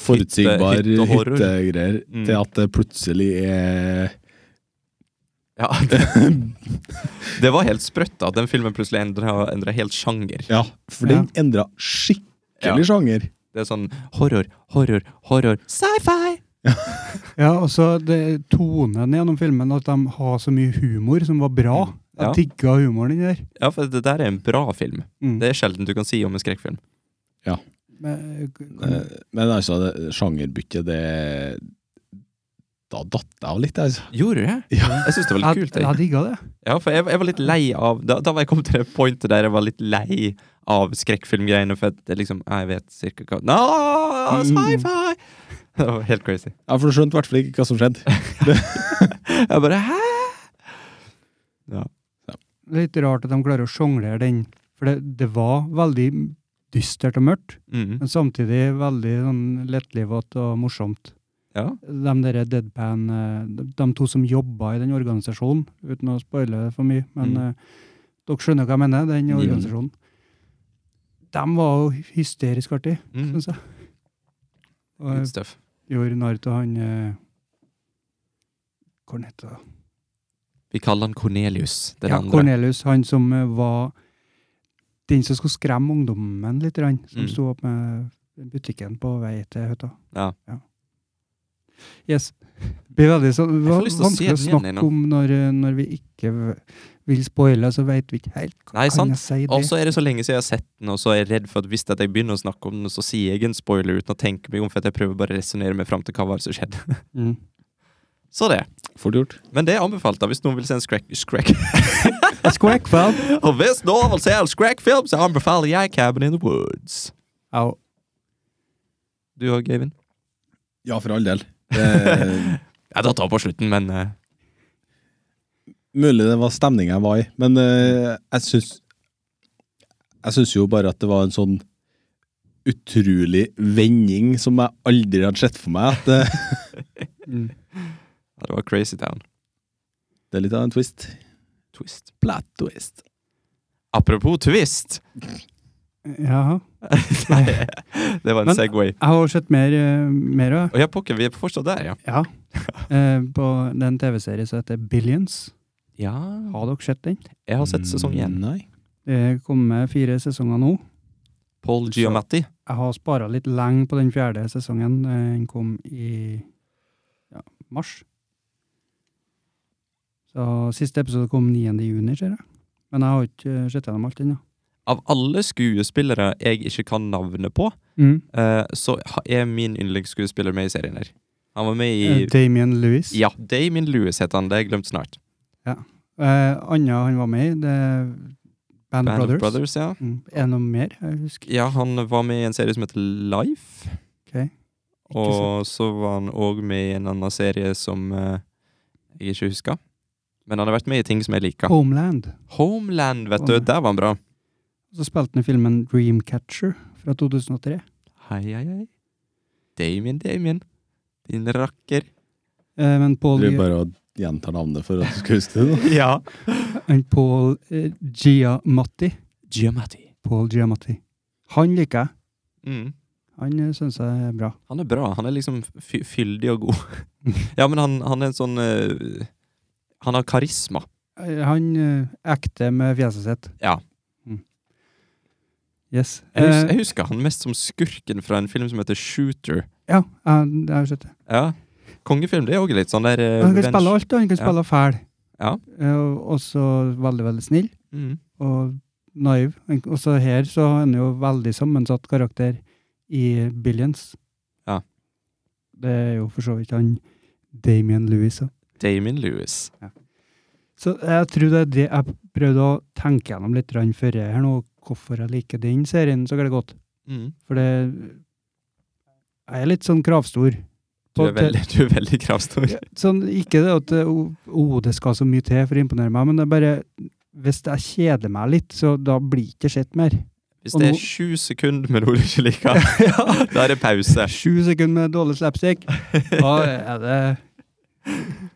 Speaker 3: forutsigbar
Speaker 2: hytte- hyttehorror.
Speaker 3: hyttegreier
Speaker 2: Mm.
Speaker 3: til at det plutselig er
Speaker 2: Ja, det, det var helt sprøtt at den filmen plutselig endra endra helt sjanger.
Speaker 3: Ja, for den endra skikkelig sjanger.
Speaker 2: Det er sånn horror, horror, horror, sci-fi!
Speaker 1: Ja, og så det- tonen gjennom filmen, at de har så mye humor som var bra.
Speaker 2: Ja.
Speaker 1: Jeg digga humoren inni der.
Speaker 2: Ja, for det der er en bra film.
Speaker 1: Mm.
Speaker 2: Det er sjelden du kan si om en skrekkfilm.
Speaker 1: Men, kan,
Speaker 2: Mm.
Speaker 3: Eh, Men altså, det- sjangerbyttet, det Da datt jeg av litt, altså.
Speaker 2: Gjorde du det? Mm.
Speaker 3: Ja.
Speaker 2: Jeg syns det var litt
Speaker 1: jeg
Speaker 2: kult.
Speaker 1: jeg
Speaker 2: Jeg.
Speaker 1: digga det.
Speaker 2: Ja, for jeg, jeg var litt lei av da, da var jeg kommet til det pointet der jeg var litt lei av skrekkfilmgreiene, for at det liksom Jeg vet cirka hva Nå, Mm. sci-fi! Det var helt crazy.
Speaker 3: Ja, for du skjønte i hvert fall ikke hva som skjedde.
Speaker 2: Jeg bare Hæ?
Speaker 1: Litt rart at de klarer å sjonglere den. For det, det var veldig dystert og mørkt,
Speaker 2: Mhm.
Speaker 1: men samtidig veldig sånn, lettlivete og morsomt.
Speaker 2: Ja.
Speaker 1: De der deadpan, eh, de, de to som jobba i den organisasjonen, uten å spoile det for mye, men
Speaker 2: Mm.
Speaker 1: eh, dere skjønner hva jeg mener, den
Speaker 2: Ja.
Speaker 1: organisasjonen. De var jo hysterisk artige,
Speaker 2: Mm.
Speaker 1: syns jeg. Og
Speaker 2: Good
Speaker 1: jeg
Speaker 2: stuff.
Speaker 1: gjorde narr av han eh, Hva han heter han?
Speaker 2: Vi kaller han Cornelius, den
Speaker 1: Ja,
Speaker 2: andre.
Speaker 1: Cornelius, han som eh, var den som skulle skremme ungdommen litt, grann, som
Speaker 2: Mm.
Speaker 1: sto opp med butikken på vei til hytta.
Speaker 2: Ja.
Speaker 1: Yes. Det blir veldig sånn det
Speaker 2: Jeg får
Speaker 1: var
Speaker 2: lyst til å se
Speaker 1: vanskelig å
Speaker 2: den igjen
Speaker 1: snakke
Speaker 2: nå.
Speaker 1: om når, eh, når vi ikke v- vil spoile, så veit vi ikke helt hva
Speaker 2: Nei,
Speaker 1: kan
Speaker 2: sant. Altså-
Speaker 1: jeg si det.
Speaker 2: Og så er det så lenge siden jeg har sett den, og så er jeg redd for at hvis at jeg begynner å snakke om den, så sier jeg en spoiler uten å tenke meg om, for at jeg prøver bare å resonnere meg fram til hva var det som skjedde.
Speaker 1: Mm.
Speaker 2: Så det.
Speaker 3: Fort gjort.
Speaker 2: Men det er anbefalt, da, hvis noen vil se en skrekk... skrekk.
Speaker 1: Squackfab.
Speaker 2: Og hvis noen vil se en skrekkfilm, så anbefaler jeg Cabin in the Woods.
Speaker 1: Au.
Speaker 2: Du òg, Gavin?
Speaker 3: Ja, for all del. Det,
Speaker 2: Jeg datt av på slutten, men eh,
Speaker 3: mulig det var stemninga jeg var i, men eh, jeg syns Jeg syns jo bare at det var en sånn utrolig vending som jeg aldri hadde sett for meg. At eh, det,
Speaker 1: Mm.
Speaker 2: ja, det var Crazy Town.
Speaker 3: det er litt av en twist.
Speaker 2: Twist.
Speaker 3: Plat twist.
Speaker 2: Apropos twist!
Speaker 1: Jaha.
Speaker 2: Nei, det var en
Speaker 1: Men-
Speaker 2: Segway.
Speaker 1: Jeg har sett mer, eh, mer av
Speaker 2: Og ja, pokker, vi er fortsatt der, ja.
Speaker 1: Ja. Eh, på den TV-serien som heter Billions.
Speaker 2: Ja,
Speaker 1: Har dere sett den?
Speaker 2: jeg har sett sesong én.
Speaker 3: Mm, Nei.
Speaker 1: Det kommer fire sesonger nå.
Speaker 2: Paul Giamatti.
Speaker 1: jeg har spara litt lenge på den fjerde sesongen. Eh, Den kom i ja, mars. Så Siste episode kom 9. juni, ser jeg. Men jeg har ikke eh, sett gjennom alt ennå.
Speaker 2: Av alle skuespillere jeg ikke kan navnet på,
Speaker 1: Mm.
Speaker 2: eh, så ha- er min yndlingsskuespiller med i serien her. Han var med
Speaker 1: Eh,
Speaker 2: i
Speaker 1: Damien Lewis.
Speaker 2: Ja, Damien Lewis heter han. Det har jeg glemt snart.
Speaker 1: Eh, Anna han var med i, det er Band,
Speaker 2: Band
Speaker 1: of Brothers.
Speaker 2: of Brothers, ja.
Speaker 1: Mm. Er det noe mer jeg husker?
Speaker 2: ja. Han var med i en serie som heter Life.
Speaker 1: Ok. Ikke
Speaker 2: Og så var han òg med i en annen serie som eh, jeg ikke husker. Men han har vært med i ting som jeg liker.
Speaker 1: Homeland.
Speaker 2: Homeland, vet du. Der var han bra.
Speaker 1: Så spilte han i filmen Dreamcatcher fra 2003.
Speaker 2: Hei, hei, hei. Damien, Damien. Din rakker.
Speaker 1: Eh, men Paul,
Speaker 3: Tror jeg bare å gjenta navnet for at du skal huske det. da.
Speaker 2: Ja.
Speaker 1: han Paul eh, Giamatti
Speaker 2: Giamatti.
Speaker 1: Paul Giamatti. Han liker jeg.
Speaker 2: Mm.
Speaker 1: Han syns jeg er bra.
Speaker 2: Han er bra. Han er liksom fy fyldig og god. ja, men han, han er en sånn eh, Han har karisma.
Speaker 1: Eh, Han eh, ekte med fjeset sitt.
Speaker 2: Ja.
Speaker 1: Mm. Yes.
Speaker 2: Jeg, hus
Speaker 1: Eh,
Speaker 2: jeg husker han mest som skurken fra en film som heter Shooter.
Speaker 1: ja, jeg, jeg har sett det.
Speaker 2: Ja. Kongefilm, det er òg litt sånn der eh,
Speaker 1: Han kan
Speaker 2: revenge.
Speaker 1: spille alt, og han kan
Speaker 2: Ja.
Speaker 1: spille fæl.
Speaker 2: Ja.
Speaker 1: Eh, og- også veldig, veldig snill
Speaker 2: Mm.
Speaker 1: og naiv. Han- Også her så er han jo veldig sammensatt karakter i Billions.
Speaker 2: Ja.
Speaker 1: Det er jo for så vidt han Damien Lewis. da.
Speaker 2: Damien Lewis.
Speaker 1: Så jeg tror det er det jeg prøvde å tenke gjennom litt grann før jeg her nå, hvorfor jeg liker den serien så godt.
Speaker 2: Mm.
Speaker 1: For det Jeg er litt sånn kravstor.
Speaker 2: Du,
Speaker 1: På
Speaker 2: er veldig, du er veldig kravstor.
Speaker 1: Ja, Sånn, ikke det at oh, oh, det skal så mye til for å imponere meg, men det er bare Hvis jeg kjeder meg litt, så da blir ikke sett mer.
Speaker 2: Hvis
Speaker 1: og
Speaker 2: det
Speaker 1: nå-
Speaker 2: er sju sekunder med noe du ikke liker, da er det pause.
Speaker 1: Sju sekunder med dårlig slapstick, da er det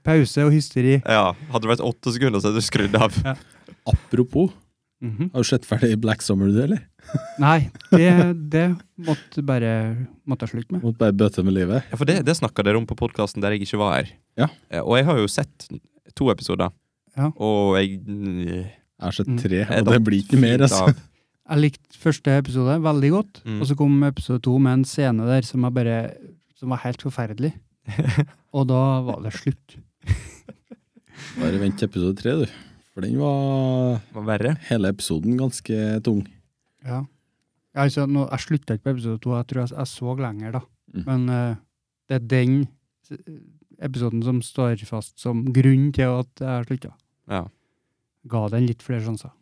Speaker 1: pause og hysteri.
Speaker 2: Ja, Hadde det vært åtte sekunder, så hadde du skrudd av.
Speaker 3: Apropos,
Speaker 1: Mhm.
Speaker 3: har du sett ferdig Black Summer, du, eller?
Speaker 1: Nei, det, det måtte bare måtte jeg slutte med.
Speaker 3: Måtte bare bøte med livet.
Speaker 2: Ja, for det, det snakka dere om på podkasten der jeg ikke var her.
Speaker 3: Ja.
Speaker 2: Eh, Og jeg har jo sett to episoder,
Speaker 1: Ja.
Speaker 2: og jeg
Speaker 3: Jeg har sett
Speaker 1: Mm.
Speaker 3: tre,
Speaker 2: Jeg
Speaker 3: og det
Speaker 2: datt
Speaker 3: blir ikke mer.
Speaker 2: fint
Speaker 3: altså.
Speaker 2: av.
Speaker 1: Jeg likte første episode veldig godt,
Speaker 2: Mm.
Speaker 1: og så kom episode to med en scene der som, jeg bare, som var helt forferdelig. Og da var det slutt.
Speaker 3: Bare vent til episode tre, du. For den var
Speaker 2: var verre.
Speaker 3: hele episoden ganske tung.
Speaker 1: Ja. Altså, nå, jeg slutta ikke på episode to, jeg tror jeg, jeg så lenger, da.
Speaker 3: Mm.
Speaker 1: Men eh, det er den s- episoden som står fast som grunn til at jeg slutta.
Speaker 2: Ja.
Speaker 1: Ga den litt flere sjanser.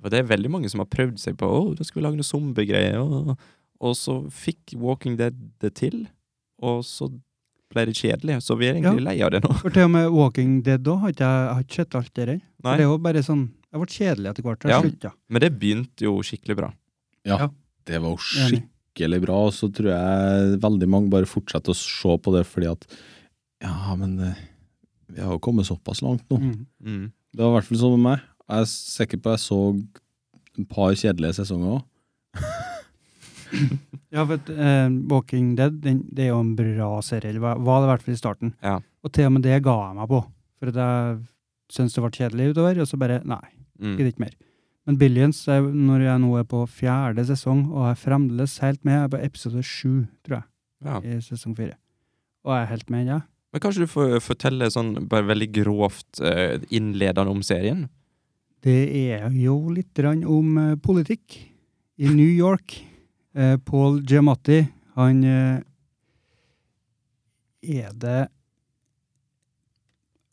Speaker 2: For det er veldig mange som har prøvd seg på å, da skal vi lage noe zombiegreier, og, og så fikk Walking Dead det til, og så ble det kjedelig, så vi er egentlig lei av det nå.
Speaker 1: For til og med Walking Dead da, har ikke jeg jeg har ikke sett alt det der. For
Speaker 2: Nei.
Speaker 1: Det er jo bare sånn Jeg ble kjedelig etter hvert. så Jeg
Speaker 2: Ja.
Speaker 1: slutta.
Speaker 2: Men det begynte jo skikkelig bra.
Speaker 1: Ja.
Speaker 3: Det var jo
Speaker 1: Enig.
Speaker 3: skikkelig bra, og så tror jeg veldig mange bare fortsetter å se på det fordi at Ja, men eh, vi har jo kommet såpass langt nå.
Speaker 1: Mm.
Speaker 2: Mm.
Speaker 3: Det var i hvert fall sånn med meg. Jeg er sikker på jeg så et par kjedelige sesonger òg.
Speaker 1: Ja, for at, eh, Walking Dead den, det er jo en bra serie, eller hva- var det i hvert fall i starten.
Speaker 2: Ja.
Speaker 1: Og til og med det ga jeg meg på, for at jeg syntes det ble kjedelig utover, og så bare nei,
Speaker 2: Mm.
Speaker 1: gidder ikke mer. Men Billions, er, når jeg nå er på fjerde sesong og er fremdeles helt med, jeg er på episode sju, tror
Speaker 2: Ja.
Speaker 1: jeg, i sesong fire. Og jeg er helt med, ja.
Speaker 2: Men kanskje du får fortelle sånn bare veldig grovt eh, innledende om serien?
Speaker 1: Det er jo litt grann om eh, politikk i New York. Eh, Paul Giamatti, han eh, er det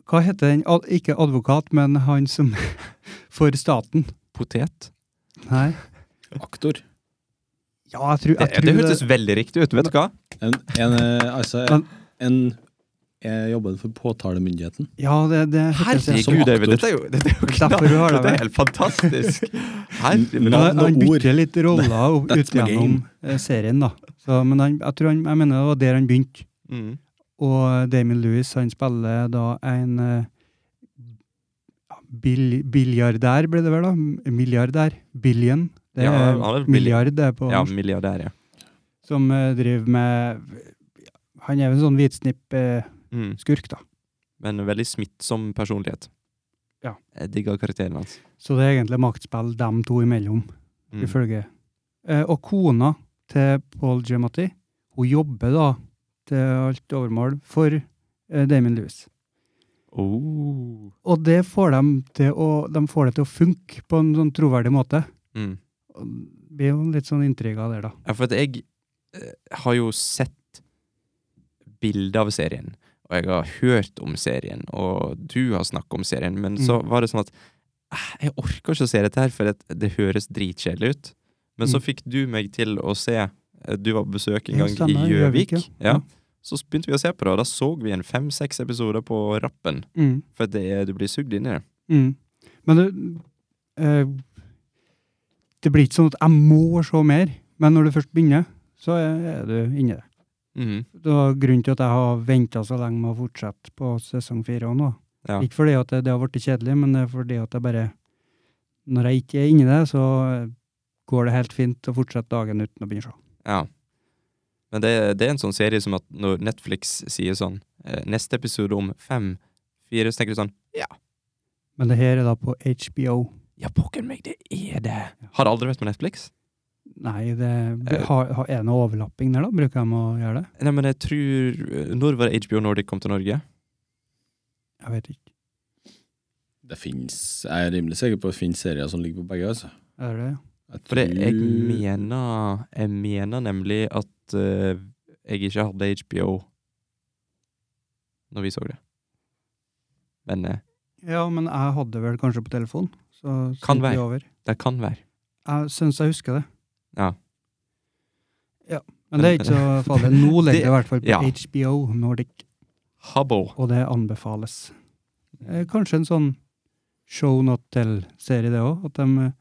Speaker 1: Hva heter den? Ad, ikke advokat, men han som For staten.
Speaker 2: Potet?
Speaker 1: Nei.
Speaker 3: Aktor.
Speaker 1: Ja, jeg tror,
Speaker 2: Det,
Speaker 1: jeg tror
Speaker 2: det hørtes veldig riktig ut, vet du hva?
Speaker 3: En, en, eh, altså,
Speaker 1: Men-
Speaker 3: en Jeg jobber for påtalemyndigheten.
Speaker 1: Ja, det, det hørtes det.
Speaker 3: Som
Speaker 2: Herregud, Øyvind,
Speaker 3: aktor.
Speaker 2: dette er jo, dette er jo knall-
Speaker 1: Derfor du har det
Speaker 2: Dette
Speaker 1: med.
Speaker 2: er helt fantastisk! Herregud.
Speaker 3: Men-
Speaker 1: Han,
Speaker 3: Navn og
Speaker 1: han
Speaker 3: ord.
Speaker 1: bytter litt roller opp-
Speaker 3: That's
Speaker 1: ut
Speaker 3: my
Speaker 1: gjennom
Speaker 3: game.
Speaker 1: eh, serien, da. Så, men han, jeg, tror han, jeg mener det var der han begynte.
Speaker 2: Mm.
Speaker 1: Og Damien Lewis, han spiller da en eh, ja, bil, biljardær, ble det vel da? M- Milliardær. Billion. Det
Speaker 2: Ja,
Speaker 1: er
Speaker 2: han er billi-
Speaker 1: milliard, det er på
Speaker 2: Ja,
Speaker 1: norsk.
Speaker 2: milliardær, ja.
Speaker 1: Som eh, driver med Han er jo en sånn hvitsnipp-skurk,
Speaker 2: Mm.
Speaker 1: da.
Speaker 2: Men en veldig smittsom personlighet.
Speaker 1: Ja.
Speaker 2: Jeg digger karakteren hans.
Speaker 1: Så det er egentlig maktspill dem to imellom,
Speaker 2: Mm.
Speaker 1: ifølge eh, Og kona til Paul Giamatti, hun jobber da til alt overmål for eh, Damien Lewis.
Speaker 2: Oh.
Speaker 1: Og det får dem til å, de får det til å funke på en sånn troverdig måte.
Speaker 2: Mm.
Speaker 1: Og Det blir jo litt sånn inntrykk av det, da.
Speaker 2: Ja, for at jeg eh, har jo sett bilder av serien, og jeg har hørt om serien, og du har snakket om serien, men så
Speaker 1: Mm.
Speaker 2: var det sånn at eh, jeg orker ikke å se dette her, for det, det høres dritkjedelig ut. Men så
Speaker 1: Mm.
Speaker 2: fikk du meg til å se eh, Du var på besøk en
Speaker 1: Ja,
Speaker 2: gang
Speaker 1: stemmer,
Speaker 2: i
Speaker 1: Gjøvik,
Speaker 2: Gjøvik.
Speaker 1: ja.
Speaker 2: Ja. Så begynte vi å se på det, og da så vi en fem-seks episoder på rappen.
Speaker 1: Mm.
Speaker 2: For det er, du blir sugd inn i det.
Speaker 1: Mm. Men det, eh, det blir ikke sånn at jeg må se mer, men når du først begynner, så er er du inni det.
Speaker 2: Mhm.
Speaker 1: Det var grunnen til at jeg har venta så lenge med å fortsette på sesong fire òg nå.
Speaker 2: Ja.
Speaker 1: Ikke fordi at det, det har blitt kjedelig, men det er fordi at jeg bare Når jeg ikke er inni det, så eh, går det helt fint å fortsette dagen uten å begynne å se.
Speaker 2: Ja. Men det, det er en sånn serie som at når Netflix sier sånn eh, Neste episode om fem, fire, så tenker du sånn
Speaker 1: Men det her er da på HBO.
Speaker 2: Ja, pokker meg, det er det! Har det aldri vært på Netflix?
Speaker 1: Nei, det
Speaker 2: Eh.
Speaker 1: har, har, er det noe overlapping der, da? Bruker de å gjøre det?
Speaker 2: Nei, men jeg tror eh, Når var det HBO Nordic kom til Norge?
Speaker 1: Jeg vet ikke.
Speaker 3: Det finnes, Jeg er rimelig sikker på at det finnes serier som ligger på begge. altså.
Speaker 1: Er det det?
Speaker 3: Jeg
Speaker 2: For det, jeg
Speaker 3: tror-
Speaker 2: mener Jeg mener nemlig at eh, jeg ikke hadde HBO når vi så det. Men eh,
Speaker 1: Ja, men jeg hadde vel kanskje på telefon. Så
Speaker 2: Kan
Speaker 1: sendte vi
Speaker 2: være.
Speaker 1: Over.
Speaker 2: det kan være.
Speaker 1: Jeg syns jeg husker det.
Speaker 2: Ja.
Speaker 1: Ja, Men det er ikke så farlig. Nå ligger det i hvert fall på
Speaker 2: Ja.
Speaker 1: HBO Nordic,
Speaker 2: Habbo.
Speaker 1: og det anbefales. Eh, Kanskje en sånn show not tell-serie, det òg. At de eh,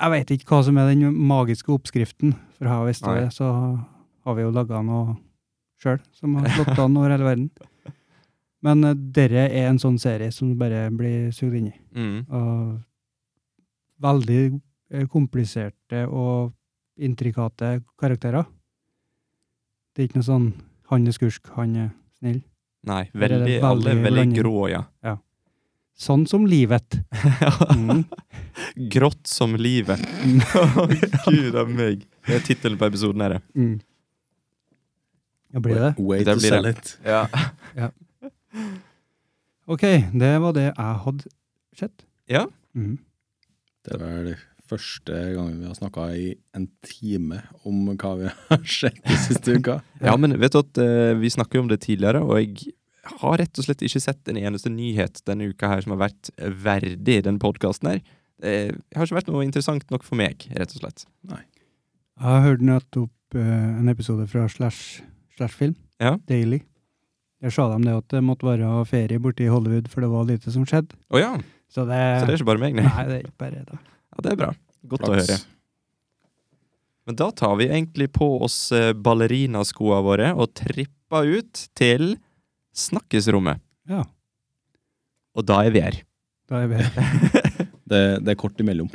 Speaker 1: Jeg veit ikke hva som er den magiske oppskriften, for har jeg visst
Speaker 2: Nei.
Speaker 1: det, så har vi jo laga noe sjøl som har slått an over hele verden. Men eh, dette er en sånn serie som du bare blir sugd inn i.
Speaker 2: Mm.
Speaker 1: Og veldig eh, kompliserte og intrikate karakterer. Det er ikke noe sånn 'han er skurk, han er snill'.
Speaker 2: Nei,
Speaker 1: er det
Speaker 2: veldig, alle er
Speaker 1: veldig
Speaker 2: veldig
Speaker 1: blanding.
Speaker 2: grå, ja.
Speaker 1: Sånn som livet. Mm.
Speaker 2: Grått som livet. Å, Gud av meg. Det er tittelen på episoden her.
Speaker 1: Mm. Ja, blir det det?
Speaker 2: Det
Speaker 4: Way
Speaker 2: blir
Speaker 4: to
Speaker 2: det.
Speaker 4: sell it.
Speaker 2: Ja.
Speaker 1: Ok, det var det jeg hadde sett.
Speaker 2: Ja.
Speaker 1: Mm.
Speaker 3: Det er vel første gangen vi har snakka i en time om hva vi har sett den siste uka.
Speaker 2: ja, men vet du at eh, vi snakker jo om det tidligere, og jeg har rett og slett ikke sett en eneste nyhet denne uka her som har vært verdig den podkasten her. Eh, Det har ikke vært noe interessant nok for meg, rett og slett.
Speaker 1: Jeg hørte nettopp eh, en episode fra Slash, slash Film,
Speaker 2: Ja.
Speaker 1: Daily. Der sa de det at det måtte være ferie borte i Hollywood, for det var lite som skjedde.
Speaker 2: Å ja,
Speaker 1: Så det,
Speaker 2: så det er ikke bare meg, nei.
Speaker 1: Nei, det er ikke bare det.
Speaker 2: Ja, det er bra. Godt å
Speaker 3: Flaks.
Speaker 2: høre. Men da tar vi egentlig på oss eh, ballerinaskoa våre og tripper ut til snakkesrommet.
Speaker 1: Ja,
Speaker 2: Og da er vi her.
Speaker 1: da er vi her.
Speaker 3: Det, det er kort imellom.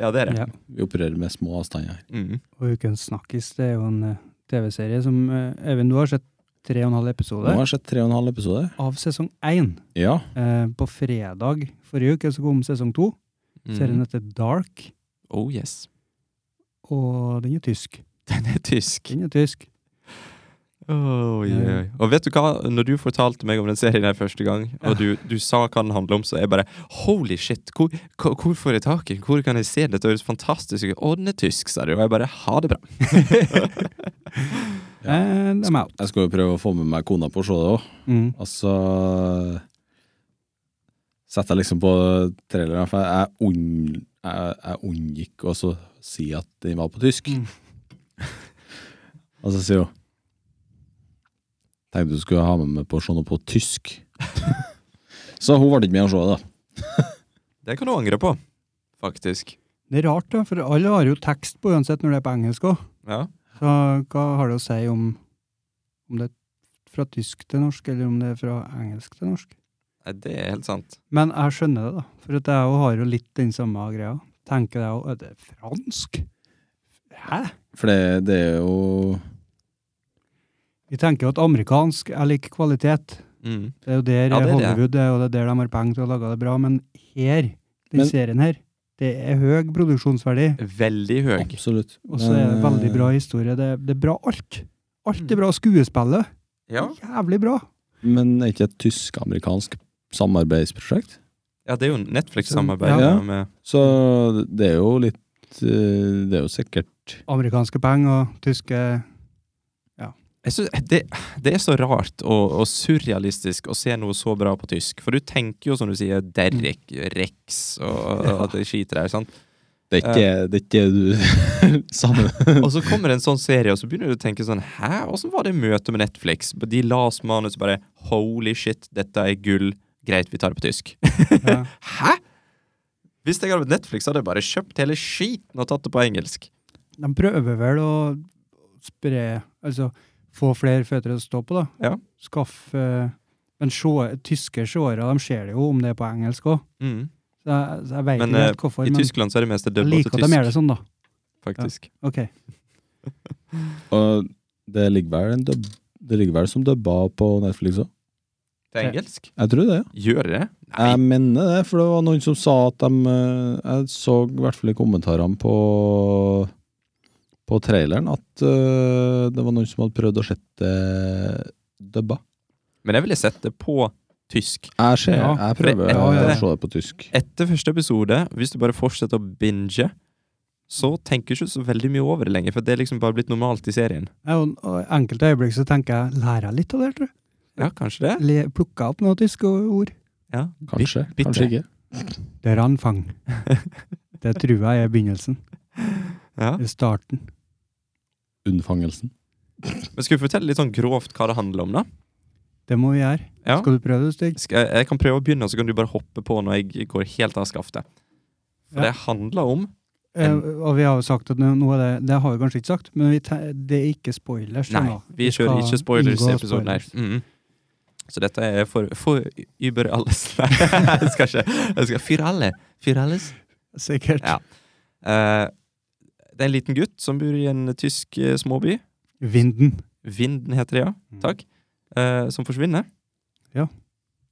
Speaker 2: Ja, det er det.
Speaker 1: Ja.
Speaker 3: Vi opererer med små avstander her.
Speaker 2: Mm.
Speaker 1: Og Ukens snakkis, det er jo en eh, TV-serie som eh, Even, du har sett tre og en halv
Speaker 3: Nå
Speaker 1: episode
Speaker 3: har jeg sett tre og en halv episode.
Speaker 1: av sesong én.
Speaker 3: Ja.
Speaker 1: Eh, på fredag forrige uke så kom sesong to.
Speaker 2: Mm.
Speaker 1: Serien heter Dark,
Speaker 2: Oh yes.
Speaker 1: og den er tysk.
Speaker 2: Den er tysk.
Speaker 1: Den er tysk.
Speaker 2: Oi, oi,
Speaker 1: Mm. Ja.
Speaker 2: oi. Og vet du hva, når du fortalte meg om den serien her første gang, og du, du sa hva den handler om, så jeg bare Holy shit, hvor, hvor hvor får jeg tak i den? Hvor kan jeg se den? Dette høres fantastisk ut. Å, den er tysk, sa du. Og jeg bare Ha det bra.
Speaker 3: Ja.
Speaker 1: And I'm out.
Speaker 3: Jeg skal jo prøve å få med meg kona på å se det òg.
Speaker 1: Mm.
Speaker 3: Og så setter jeg liksom på traileren, for jeg, unn, jeg, jeg unngikk å så si at den var på tysk.
Speaker 1: Mm.
Speaker 3: og så sier hun Tenkte du skulle ha med meg på å se noe på tysk. så hun ble ikke med å se det, da.
Speaker 2: Det kan du angre på, faktisk.
Speaker 1: Det er rart, da, for alle har jo tekst på uansett når det er på engelsk òg.
Speaker 2: Ja.
Speaker 1: Så hva har det å si om, om det er fra tysk til norsk, eller om det er fra engelsk til norsk?
Speaker 2: Nei, Det er helt sant.
Speaker 1: Men jeg skjønner det, da. For at jeg jo har jo litt den samme greia. Tenker jeg òg Er det fransk? Hæ?
Speaker 3: For det, det er jo
Speaker 1: Vi tenker jo at amerikansk er lik kvalitet.
Speaker 2: Mm.
Speaker 1: Det er jo der
Speaker 2: Ja, det er det.
Speaker 1: Hollywood er, og det er der de har penger til å lage det bra. Men her, den
Speaker 3: Men-
Speaker 1: serien her, det er høy produksjonsverdi.
Speaker 2: Veldig høy.
Speaker 3: Absolutt.
Speaker 1: Og så er det veldig bra historie. Det, det er bra alt. Alt er bra. Skuespillet
Speaker 2: Ja.
Speaker 1: jævlig bra.
Speaker 3: Eh, Men er ikke et tysk-amerikansk samarbeidsprosjekt?
Speaker 2: ja, det er jo Netflix-samarbeid.
Speaker 1: Ja.
Speaker 2: Ja. med-
Speaker 3: Så det er jo litt eh, Det er jo sikkert
Speaker 1: Amerikanske penger og tyske
Speaker 2: Jeg synes, det, det er så rart og, og surrealistisk å se noe så bra på tysk. For du tenker jo, som du sier, Derek,
Speaker 1: Mm.
Speaker 2: Rex og, og at det skiter der. sant?
Speaker 3: Det er ikke, det er ikke du sammen
Speaker 2: Og så kommer det en sånn serie, og så begynner du å tenke sånn Hæ, åssen var det møtet med Netflix? De la oss manus og bare Holy shit, dette er gull. Greit, vi tar det på tysk.
Speaker 1: ja.
Speaker 2: Hæ?! Hvis jeg hadde vært Netflix, hadde jeg bare kjøpt hele skiten og tatt det på engelsk.
Speaker 1: De prøver vel å spre Altså få flere føtter å stå på, da.
Speaker 2: Ja.
Speaker 1: Skaffe Men sjå- tyske seere, de ser det jo om det er på engelsk òg.
Speaker 2: Mm.
Speaker 1: Så jeg, så jeg veit
Speaker 2: Men, eh,
Speaker 1: ikke helt hvorfor.
Speaker 2: I
Speaker 1: Men
Speaker 2: Tyskland så er det meste
Speaker 1: jeg
Speaker 2: dubba til
Speaker 1: liker at de gjør
Speaker 2: tysk,
Speaker 1: det sånn, da.
Speaker 2: faktisk.
Speaker 1: Ok.
Speaker 3: Og det ligger vel en dub, Det ligger vel som dubba på Netflix òg?
Speaker 2: Til engelsk?
Speaker 3: Jeg tror det, ja.
Speaker 2: Gjør det? Nei.
Speaker 3: Jeg mener det, for det var noen som sa at de eh, Jeg så i hvert fall i kommentarene på på traileren at eh, det var noen som hadde prøvd å sette dubba.
Speaker 2: Men jeg ville sett det på tysk.
Speaker 3: Jeg, ser,
Speaker 1: Ja.
Speaker 3: jeg prøver
Speaker 1: Ja, ja, ja.
Speaker 3: å se det på tysk.
Speaker 2: Etter første episode, hvis du bare fortsetter å binge, så tenker du ikke så veldig mye over det lenger, for det er liksom bare blitt normalt i serien.
Speaker 1: Ja, og- og Enkelte øyeblikk så tenker jeg lærer jeg litt av det, her, tror jeg.
Speaker 2: Ja, kanskje det?
Speaker 1: Le- Plukker opp noen tyske ord.
Speaker 2: Ja,
Speaker 3: Kanskje,
Speaker 2: bitte.
Speaker 3: kanskje ikke.
Speaker 1: Der han fang. Det tror jeg er begynnelsen.
Speaker 2: ja.
Speaker 1: Det er starten.
Speaker 3: Unnfangelsen.
Speaker 2: Men skal vi fortelle litt sånn grovt hva det handler om, da?
Speaker 1: Det må vi gjøre.
Speaker 2: Ja.
Speaker 1: Skal du prøve det, Stig?
Speaker 2: Skal jeg, jeg kan prøve å begynne, så kan du bare hoppe på når jeg går helt av skaftet. For
Speaker 1: Ja.
Speaker 2: det handler om
Speaker 1: Eh, og vi har jo sagt at nå nå er det Det har vi kanskje ikke sagt, men vi te det er ikke spoilers.
Speaker 2: Nei,
Speaker 1: nå.
Speaker 2: vi kjører
Speaker 1: skal
Speaker 2: ikke spoilers i
Speaker 1: unngå
Speaker 2: episoden her.
Speaker 1: spoilers.
Speaker 2: Mhm. Så dette er for, for Uber alles. Nei, jeg skal ikke. Jeg skal Fyr alle. Fyr alles.
Speaker 1: Sikkert.
Speaker 2: Ja. Eh, det er en liten gutt som bor i en tysk eh, småby.
Speaker 1: Vinden.
Speaker 2: Vinden heter det, ja. Takk. Eh, som forsvinner.
Speaker 1: Ja.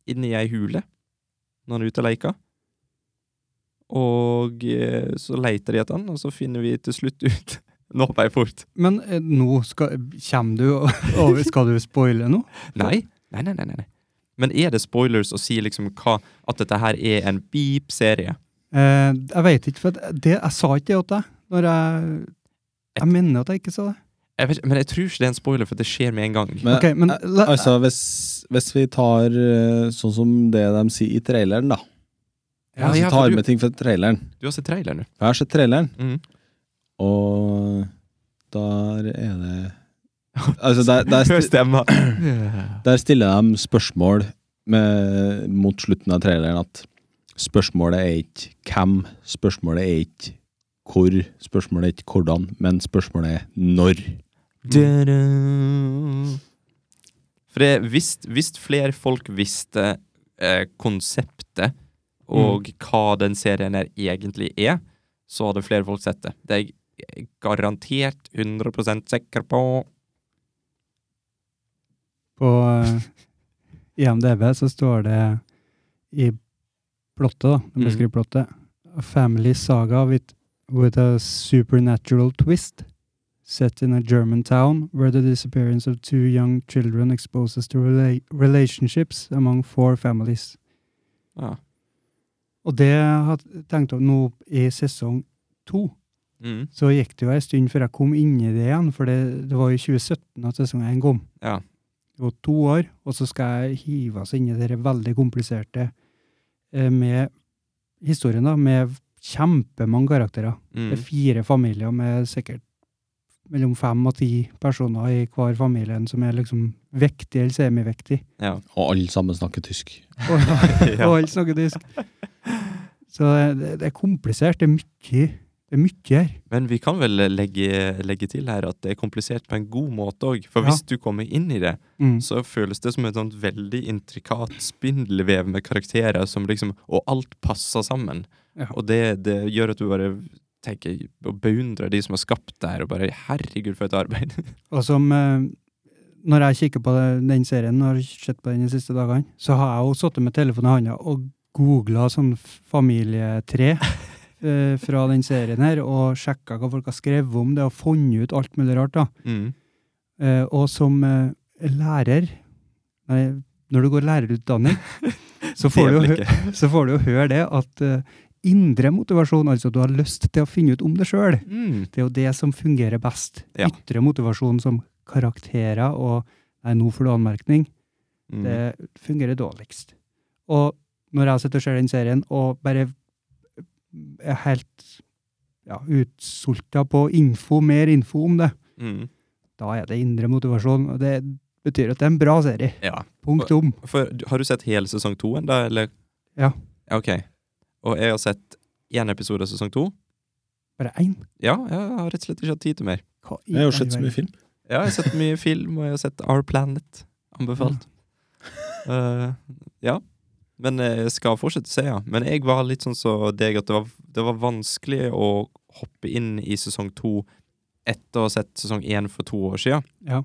Speaker 2: Inn i ei hule når han er ute og leker. Og eh, så leter de etter han, og så finner vi til slutt ut Nå var jeg fort.
Speaker 1: Men eh, nå skal, kommer du over Skal du spoile nå?
Speaker 2: Nei. Nei, nei, nei, nei. nei. Men er det spoilers å si liksom hva, at dette her er en beep-serie?
Speaker 1: Eh, jeg veit ikke, for at det, jeg sa ikke det til deg. Når jeg Jeg mener at jeg ikke sa det.
Speaker 2: Jeg vet ikke, Men jeg tror ikke det er en spoiler, for det skjer med en gang.
Speaker 3: Men,
Speaker 1: Ok, men
Speaker 3: eh,
Speaker 1: la-
Speaker 3: altså, hvis, hvis vi tar eh, sånn som det de sier i traileren, da.
Speaker 2: Ja,
Speaker 3: altså,
Speaker 2: ja, for
Speaker 3: tar
Speaker 2: du-
Speaker 3: med ting fra traileren.
Speaker 2: Du har sett trailer nå.
Speaker 3: For jeg har sett traileren,
Speaker 2: Mm.
Speaker 3: og der er det Altså, der, der,
Speaker 2: Hør
Speaker 3: sti-
Speaker 2: stemma.
Speaker 3: der stiller de spørsmål med, mot slutten av traileren at spørsmålet er ikke hvem, spørsmålet er ikke hvor, spørsmålet er ikke hvordan, men spørsmålet er når.
Speaker 1: Mm.
Speaker 2: Da-da. For det, hvis, hvis flere folk visste eh, konseptet og
Speaker 1: Mm.
Speaker 2: hva den serien her egentlig er, så hadde flere folk sett det. Det er jeg garantert 100 sikker på.
Speaker 1: På eh, IMDb så står det i plottet, da, når
Speaker 2: Mhm.
Speaker 3: Mm.
Speaker 1: man skriver plottet, A family saga with, with a supernatural twist set in a German town where the disappearance of two young children exposes to rela relationships among four families.
Speaker 2: Ja.
Speaker 1: Og det har jeg tenkt over nå i sesong to.
Speaker 2: Mm.
Speaker 1: Så gikk det jo en stund før jeg kom inn i det igjen, for det, det var i 2017 at sesong 1 kom.
Speaker 2: Ja.
Speaker 1: Det var to år, og så skal jeg hive oss inn i det her veldig kompliserte eh, med historien, da, med kjempemange karakterer. Det
Speaker 2: Mm.
Speaker 1: er fire familier med sikkert mellom fem og ti personer i hver familien som er liksom vektig eller semiviktig.
Speaker 2: Ja.
Speaker 3: Og alle sammen snakker tysk.
Speaker 1: Og,
Speaker 2: Ja.
Speaker 1: og alle snakker tysk. Så det, det er komplisert. Det er mye, det er mye her.
Speaker 2: Men vi kan vel legge, legge til her at det er komplisert på en god måte òg. For
Speaker 1: Ja.
Speaker 2: hvis du kommer inn i det,
Speaker 1: Mm.
Speaker 2: så føles det som et sånt veldig intrikat spindelvev med karakterer som liksom Og alt passer sammen.
Speaker 1: Ja.
Speaker 2: Og det, det gjør at du bare tenker og beundrer de som har skapt det her, og bare Herregud, for et arbeid.
Speaker 1: Og som eh, Når jeg kikker på det- den serien og har sett på den de siste dagene, så har jeg jo sittet med telefonen i hånda og googla sånn f- familietre eh, fra den serien her, og sjekka hva folk har skrevet om det, og funnet ut alt mulig rart. da.
Speaker 2: Mm.
Speaker 1: Eh, og som eh, lærer nei, Når du går lærerutdanning, så får du jo hø-
Speaker 2: Øyeblikket.
Speaker 1: så får du jo høre det at eh, indre motivasjon, altså at du har lyst til å finne ut om det sjøl,
Speaker 2: mm.
Speaker 1: det er jo det som fungerer best.
Speaker 2: Ja.
Speaker 1: Ytre motivasjon som karakterer og nei, nå får du anmerkning,
Speaker 3: Mhm.
Speaker 2: Mm.
Speaker 1: det fungerer dårligst. Og når jeg sitter og ser den serien og bare er helt ja, utsulta på info, mer info om det,
Speaker 2: Mm.
Speaker 1: da er det indre motivasjon. og Det betyr at det er en bra serie.
Speaker 2: Ja.
Speaker 1: Punktum.
Speaker 2: For, du- har du sett hele sesong to ennå, eller?
Speaker 1: Ja.
Speaker 2: Ja, Ok. Og jeg har sett én episode av sesong to.
Speaker 1: Bare én.
Speaker 2: Ja, jeg har rett og slett ikke hatt tid til mer.
Speaker 1: Hva i
Speaker 3: Jeg har
Speaker 1: all
Speaker 3: jo sett så
Speaker 1: verden?
Speaker 3: mye film.
Speaker 2: Ja, jeg har sett mye film, og jeg har sett Our Planet anbefalt. Eh, ja. Men eh, jeg skal fortsette å se, ja. Men jeg var litt sånn som deg, at det var, det var vanskelig å hoppe inn i sesong to etter å ha sett sesong én for to år siden.
Speaker 1: Ja.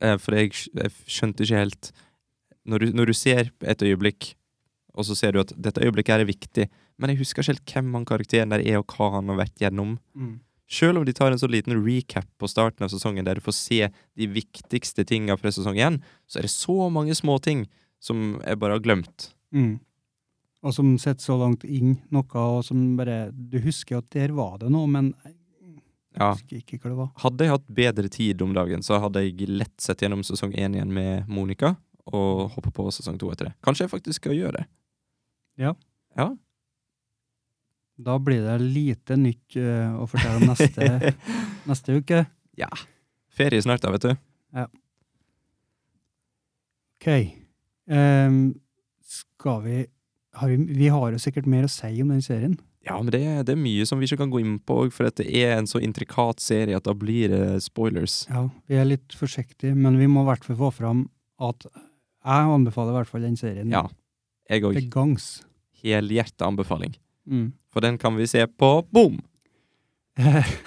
Speaker 2: Eh, for jeg, skj- jeg skjønte ikke helt når du, når du ser et øyeblikk, og så ser du at dette øyeblikket her er viktig, men jeg husker ikke helt hvem han karakteren der er, og hva han har vært gjennom.
Speaker 1: Mm.
Speaker 2: Selv om de tar en så liten recap på starten av sesongen, der du får se de viktigste tinga fra sesong én, så er det så mange småting som jeg bare har glemt.
Speaker 1: Mm. Og som sitter så langt inn noe, og som bare Du husker at der var det noe, men jeg
Speaker 2: Ja.
Speaker 1: husker ikke hva det var.
Speaker 2: Hadde jeg hatt bedre tid om dagen, så hadde jeg lett sett gjennom sesong én igjen med Monica, og hoppa på sesong to etter det. Kanskje jeg faktisk skal gjøre det.
Speaker 1: Da blir det lite nytt eh, å fortelle om neste, neste uke.
Speaker 2: Ferie snart, da, vet du.
Speaker 1: OK. Ehm, skal vi har vi, vi har jo sikkert mer å si om den serien.
Speaker 2: Ja, men det, det er mye som vi ikke kan gå inn på, for at det er en så intrikat serie at da blir det spoilers.
Speaker 1: Ja, Vi er litt forsiktige, men vi må i hvert fall få fram at jeg anbefaler i hvert fall den serien
Speaker 2: Ja. Jeg òg.
Speaker 1: til gangs.
Speaker 2: Helhjerta anbefaling.
Speaker 1: Mm.
Speaker 2: For den kan vi se på Boom!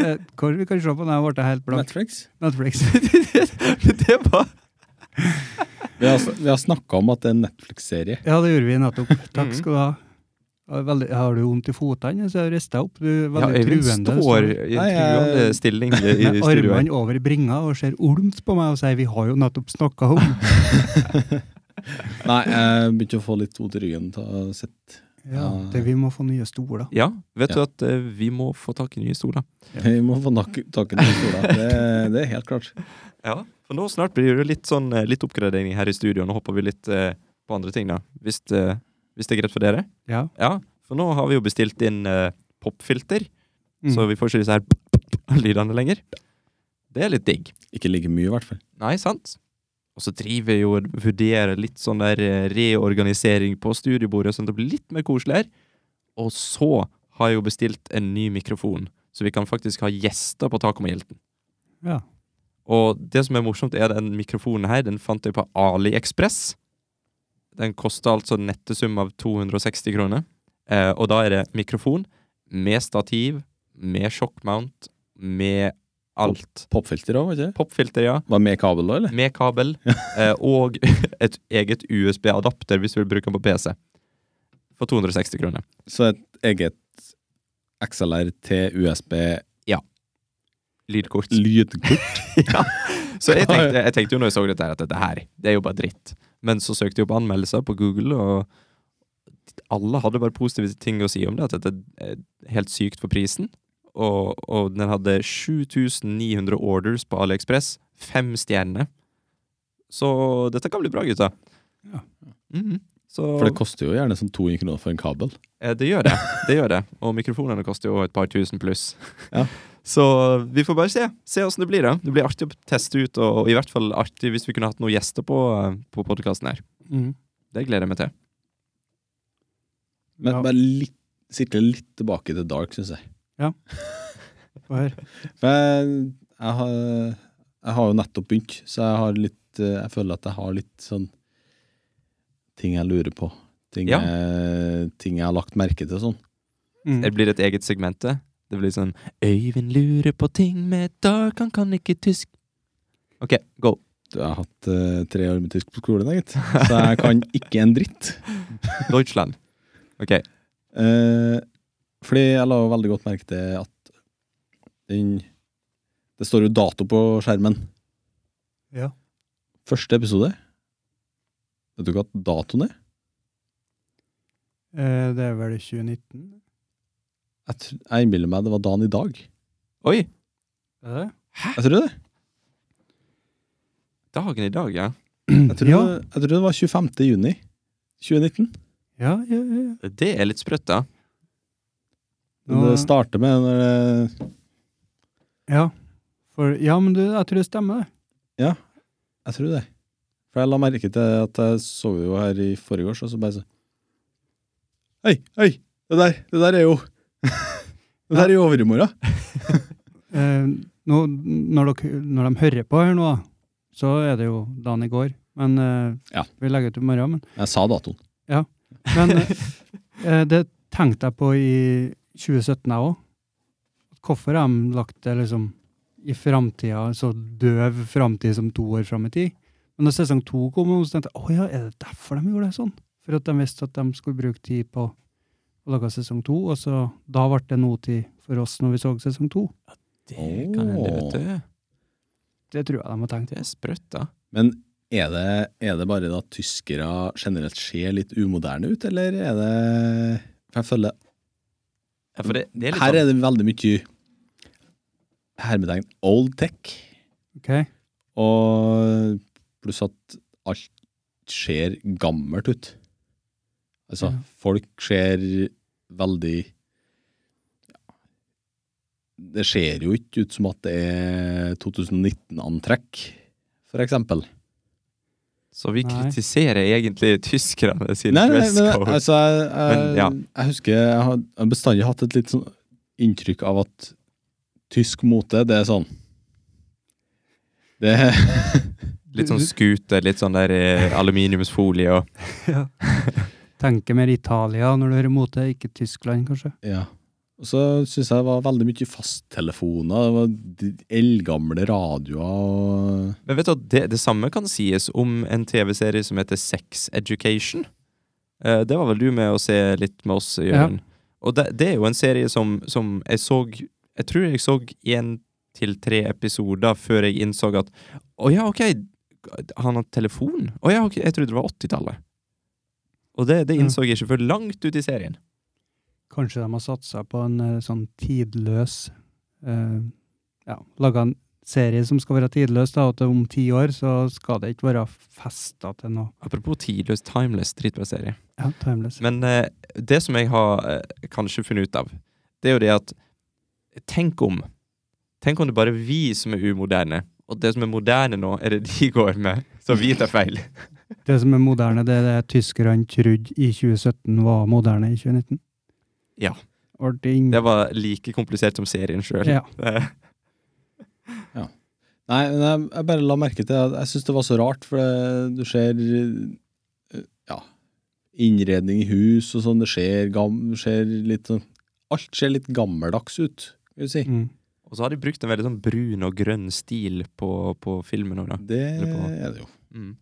Speaker 1: Eh, Hvor vi kan se på når jeg ble helt blank.
Speaker 3: Netflix.
Speaker 1: Netflix.
Speaker 2: Men det var
Speaker 3: Vi har, vi har snakka om at det er en Netflix-serie.
Speaker 1: Ja, det gjorde vi nettopp. Takk
Speaker 2: Mhm.
Speaker 1: skal du ha. Jeg er Veldig, har du vondt i fotene? Så jeg rister opp. Du er
Speaker 2: ja,
Speaker 1: veldig
Speaker 2: Øyvind
Speaker 1: truende. du
Speaker 2: står i en
Speaker 3: Nei, jeg-
Speaker 2: truende stilling i i
Speaker 1: med
Speaker 2: studio. her.
Speaker 1: armene over bringa og ser olmt på meg og sier 'vi har jo nettopp snakka om'.
Speaker 3: Nei, jeg begynte å få litt vondt i ryggen. til å sitte.
Speaker 1: Ja,
Speaker 3: Ja.
Speaker 1: det, vi må få nye stoler.
Speaker 2: Ja, vet du
Speaker 3: Ja.
Speaker 2: at eh, vi må få tak i nye stoler?
Speaker 3: Vi må få nak- tak i noen stoler. Det, det er helt klart.
Speaker 2: Ja, for nå snart blir det litt sånn eh, litt oppgradering her i studio. Nå hopper vi litt eh, på andre ting, da. Hvis, eh, hvis det er greit for dere?
Speaker 1: Ja.
Speaker 2: Ja, for nå har vi jo bestilt inn eh, popfilter,
Speaker 1: Mm.
Speaker 2: så vi får ikke disse her lydene lenger. Det er litt digg.
Speaker 3: Ikke like mye, i hvert fall.
Speaker 2: Nei, sant? Og så driver vi jo og vurderer litt sånn der eh, reorganisering på studiebordet, sånn at det blir litt mer koselig her. Og så har jeg jo bestilt en ny mikrofon, så vi kan faktisk ha gjester på taket med hjelten.
Speaker 1: ja.
Speaker 2: Og det som er morsomt, er den mikrofonen her. Den fant jeg på AliExpress. Den kosta altså en nettesum av 260 kroner. Eh, og da er det mikrofon med stativ, med sjokkmount, med alt.
Speaker 3: Popfilter òg, var det ikke?
Speaker 2: Popfilter, ja.
Speaker 3: Var med kabel da, eller?
Speaker 2: Med kabel. Eh, og et eget USB-adapter hvis du vil bruke den på PC. For 260 kroner.
Speaker 3: Så et eget XLR til USB
Speaker 2: Lydkort.
Speaker 3: lydkort.
Speaker 2: ja. Så jeg tenkte, jeg tenkte jo når jeg så dette her, at dette her, det er jo bare dritt. Men så søkte jeg opp anmeldelser på Google, og alle hadde bare positive ting å si om det, at dette er helt sykt for prisen. Og, og den hadde 7900 orders på AliExpress, fem stjerner. Så dette kan bli bra, gutta.
Speaker 1: Ja.
Speaker 2: Mhm. Så
Speaker 3: For det koster jo gjerne sånn 200 kroner for en kabel.
Speaker 2: Eh, Det gjør det. det gjør det. Og mikrofonene koster jo et par tusen pluss.
Speaker 3: Ja.
Speaker 2: Så eh, vi får bare se Se åssen det blir. da Det blir artig å teste ut, og, og i hvert fall artig hvis vi kunne hatt noen gjester på, eh, på podkasten her.
Speaker 1: Mm.
Speaker 2: Det gleder jeg meg til.
Speaker 3: Men
Speaker 1: Ja.
Speaker 3: bare litt, sikle litt tilbake til Dark, syns jeg.
Speaker 1: Få høre.
Speaker 3: For jeg, jeg, har, jeg har jo nettopp begynt, så jeg har litt eh, Jeg føler at jeg har litt sånn ting jeg lurer på. Ting,
Speaker 2: Ja.
Speaker 3: jeg, ting jeg har lagt merke til og sånn.
Speaker 1: Mm.
Speaker 2: Det blir et eget segment. Det Det blir sånn Øyvind lurer på ting med Dark, han kan ikke tysk. OK, go.
Speaker 3: Du, Jeg har hatt eh, tre år med tysk på skolen, jeg, gitt. Så jeg kan ikke en dritt.
Speaker 2: Deutschland. OK.
Speaker 3: Eh, fordi jeg la jo veldig godt merke til at den Det står jo dato på skjermen.
Speaker 1: Ja.
Speaker 3: Første episode. Vet du hva datoen er?
Speaker 1: Eh, det er vel 2019?
Speaker 3: Jeg, tr- jeg innbiller meg det var dagen i dag.
Speaker 2: Oi!
Speaker 1: Er det?
Speaker 3: Jeg tror det.
Speaker 2: Dagen i dag, ja.
Speaker 3: Jeg tror,
Speaker 1: Ja.
Speaker 3: det, jeg tror det var 25. juni 2019.
Speaker 1: Ja, ja, ja. ja.
Speaker 2: Det er litt sprøtt, da.
Speaker 3: Men
Speaker 1: Nå-
Speaker 3: Det starter med eh, når det,
Speaker 1: ja. For, ja, men du, jeg tror det stemmer, det.
Speaker 3: Jeg tror det. For jeg la merke til at jeg så jo her i forgårs, og så bare så Hei, hei! Det der, det der er jo Det der er jo over i morgen.
Speaker 1: Eh, nå, når, dere, når de hører på her nå, da, så er det jo dagen i går. Men eh,
Speaker 3: Ja.
Speaker 1: vi legger ut i morgen. Men,
Speaker 3: Jeg sa datoen.
Speaker 1: men eh, det tenkte jeg på i 2017, jeg òg. Hvorfor har de lagt det liksom i framtida, så døv framtid som to år fram i tid? Men da sesong to kom, så tenkte jeg å ja, er det derfor de gjorde det sånn? For at de visste at de skulle bruke tid på å lage sesong to, og så da ble det nåtid for oss når vi så sesong to.
Speaker 2: Det kan hende, vet du.
Speaker 1: Det tror jeg de har tenkt.
Speaker 2: Det er sprøtt, da.
Speaker 3: Men er det, er det bare at tyskere generelt ser litt umoderne ut, eller er det For jeg føler
Speaker 2: Ja, for det, det er litt
Speaker 3: Her
Speaker 2: sånn-
Speaker 3: er det veldig mye hermetegn old tech,
Speaker 1: Ok?
Speaker 3: og pluss at alt ser gammelt ut. Altså,
Speaker 1: Ja.
Speaker 3: folk ser veldig ja, Det ser jo ikke ut som at det er 2019-antrekk, for eksempel.
Speaker 2: Så vi
Speaker 1: Nei.
Speaker 2: kritiserer egentlig tyskerne sin
Speaker 3: Nei, nei,
Speaker 2: dress
Speaker 3: nei, nei,
Speaker 2: code.
Speaker 3: altså jeg, jeg,
Speaker 2: Men, ja.
Speaker 3: jeg husker jeg har jeg har bestandig hatt et litt sånn inntrykk av at tysk mote, det er sånn Det
Speaker 2: Litt sånn scooter, litt sånn der eh, aluminiumsfolie og
Speaker 1: Tenker mer Italia når du hører mote, ikke Tyskland, kanskje.
Speaker 3: Ja. Og så syns jeg det var veldig mye fasttelefoner. Det var de eldgamle radioer og
Speaker 2: Men vet du, at det, det samme kan sies om en TV-serie som heter Sex Education. Eh, det var vel du med å se litt med oss, Jørgen. Og det, det er jo en serie som, som jeg så Jeg tror jeg så én til tre episoder før jeg innså at Å ja, OK, han har telefon? Å ja, ok, jeg trodde det var 80-tallet. Og det, det
Speaker 1: Ja.
Speaker 2: innså jeg ikke før langt ut i serien.
Speaker 1: Kanskje de har satsa på en eh, sånn tidløs eh, Ja, laga en serie som skal være tidløs, da, at om ti år så skal det ikke være festa til noe.
Speaker 2: Apropos tidløs, timeless, dritbra serie.
Speaker 1: Ja, timeless.
Speaker 2: Men eh, det som jeg har eh, kanskje funnet ut av, det er jo det at Tenk om Tenk om det bare er vi som er umoderne, og det som er moderne nå, er det de går med, så vi tar feil.
Speaker 1: Det som er moderne, det er det tyskerne trodde i 2017 var moderne i 2019.
Speaker 2: Ja.
Speaker 1: Ording.
Speaker 2: Det var like komplisert som serien sjøl.
Speaker 1: Ja.
Speaker 3: Nei, men jeg, jeg bare la merke til at jeg syns det var så rart, for det, du ser eh, ja, innredning i hus og sånn, det ser, gam, ser litt sånn Alt ser litt gammeldags ut, vil du si.
Speaker 1: Mm.
Speaker 2: Og så har de brukt en veldig sånn brun og grønn stil på, på filmen òg, da.
Speaker 3: Det
Speaker 2: Eller på-
Speaker 3: er det jo.
Speaker 2: Mm.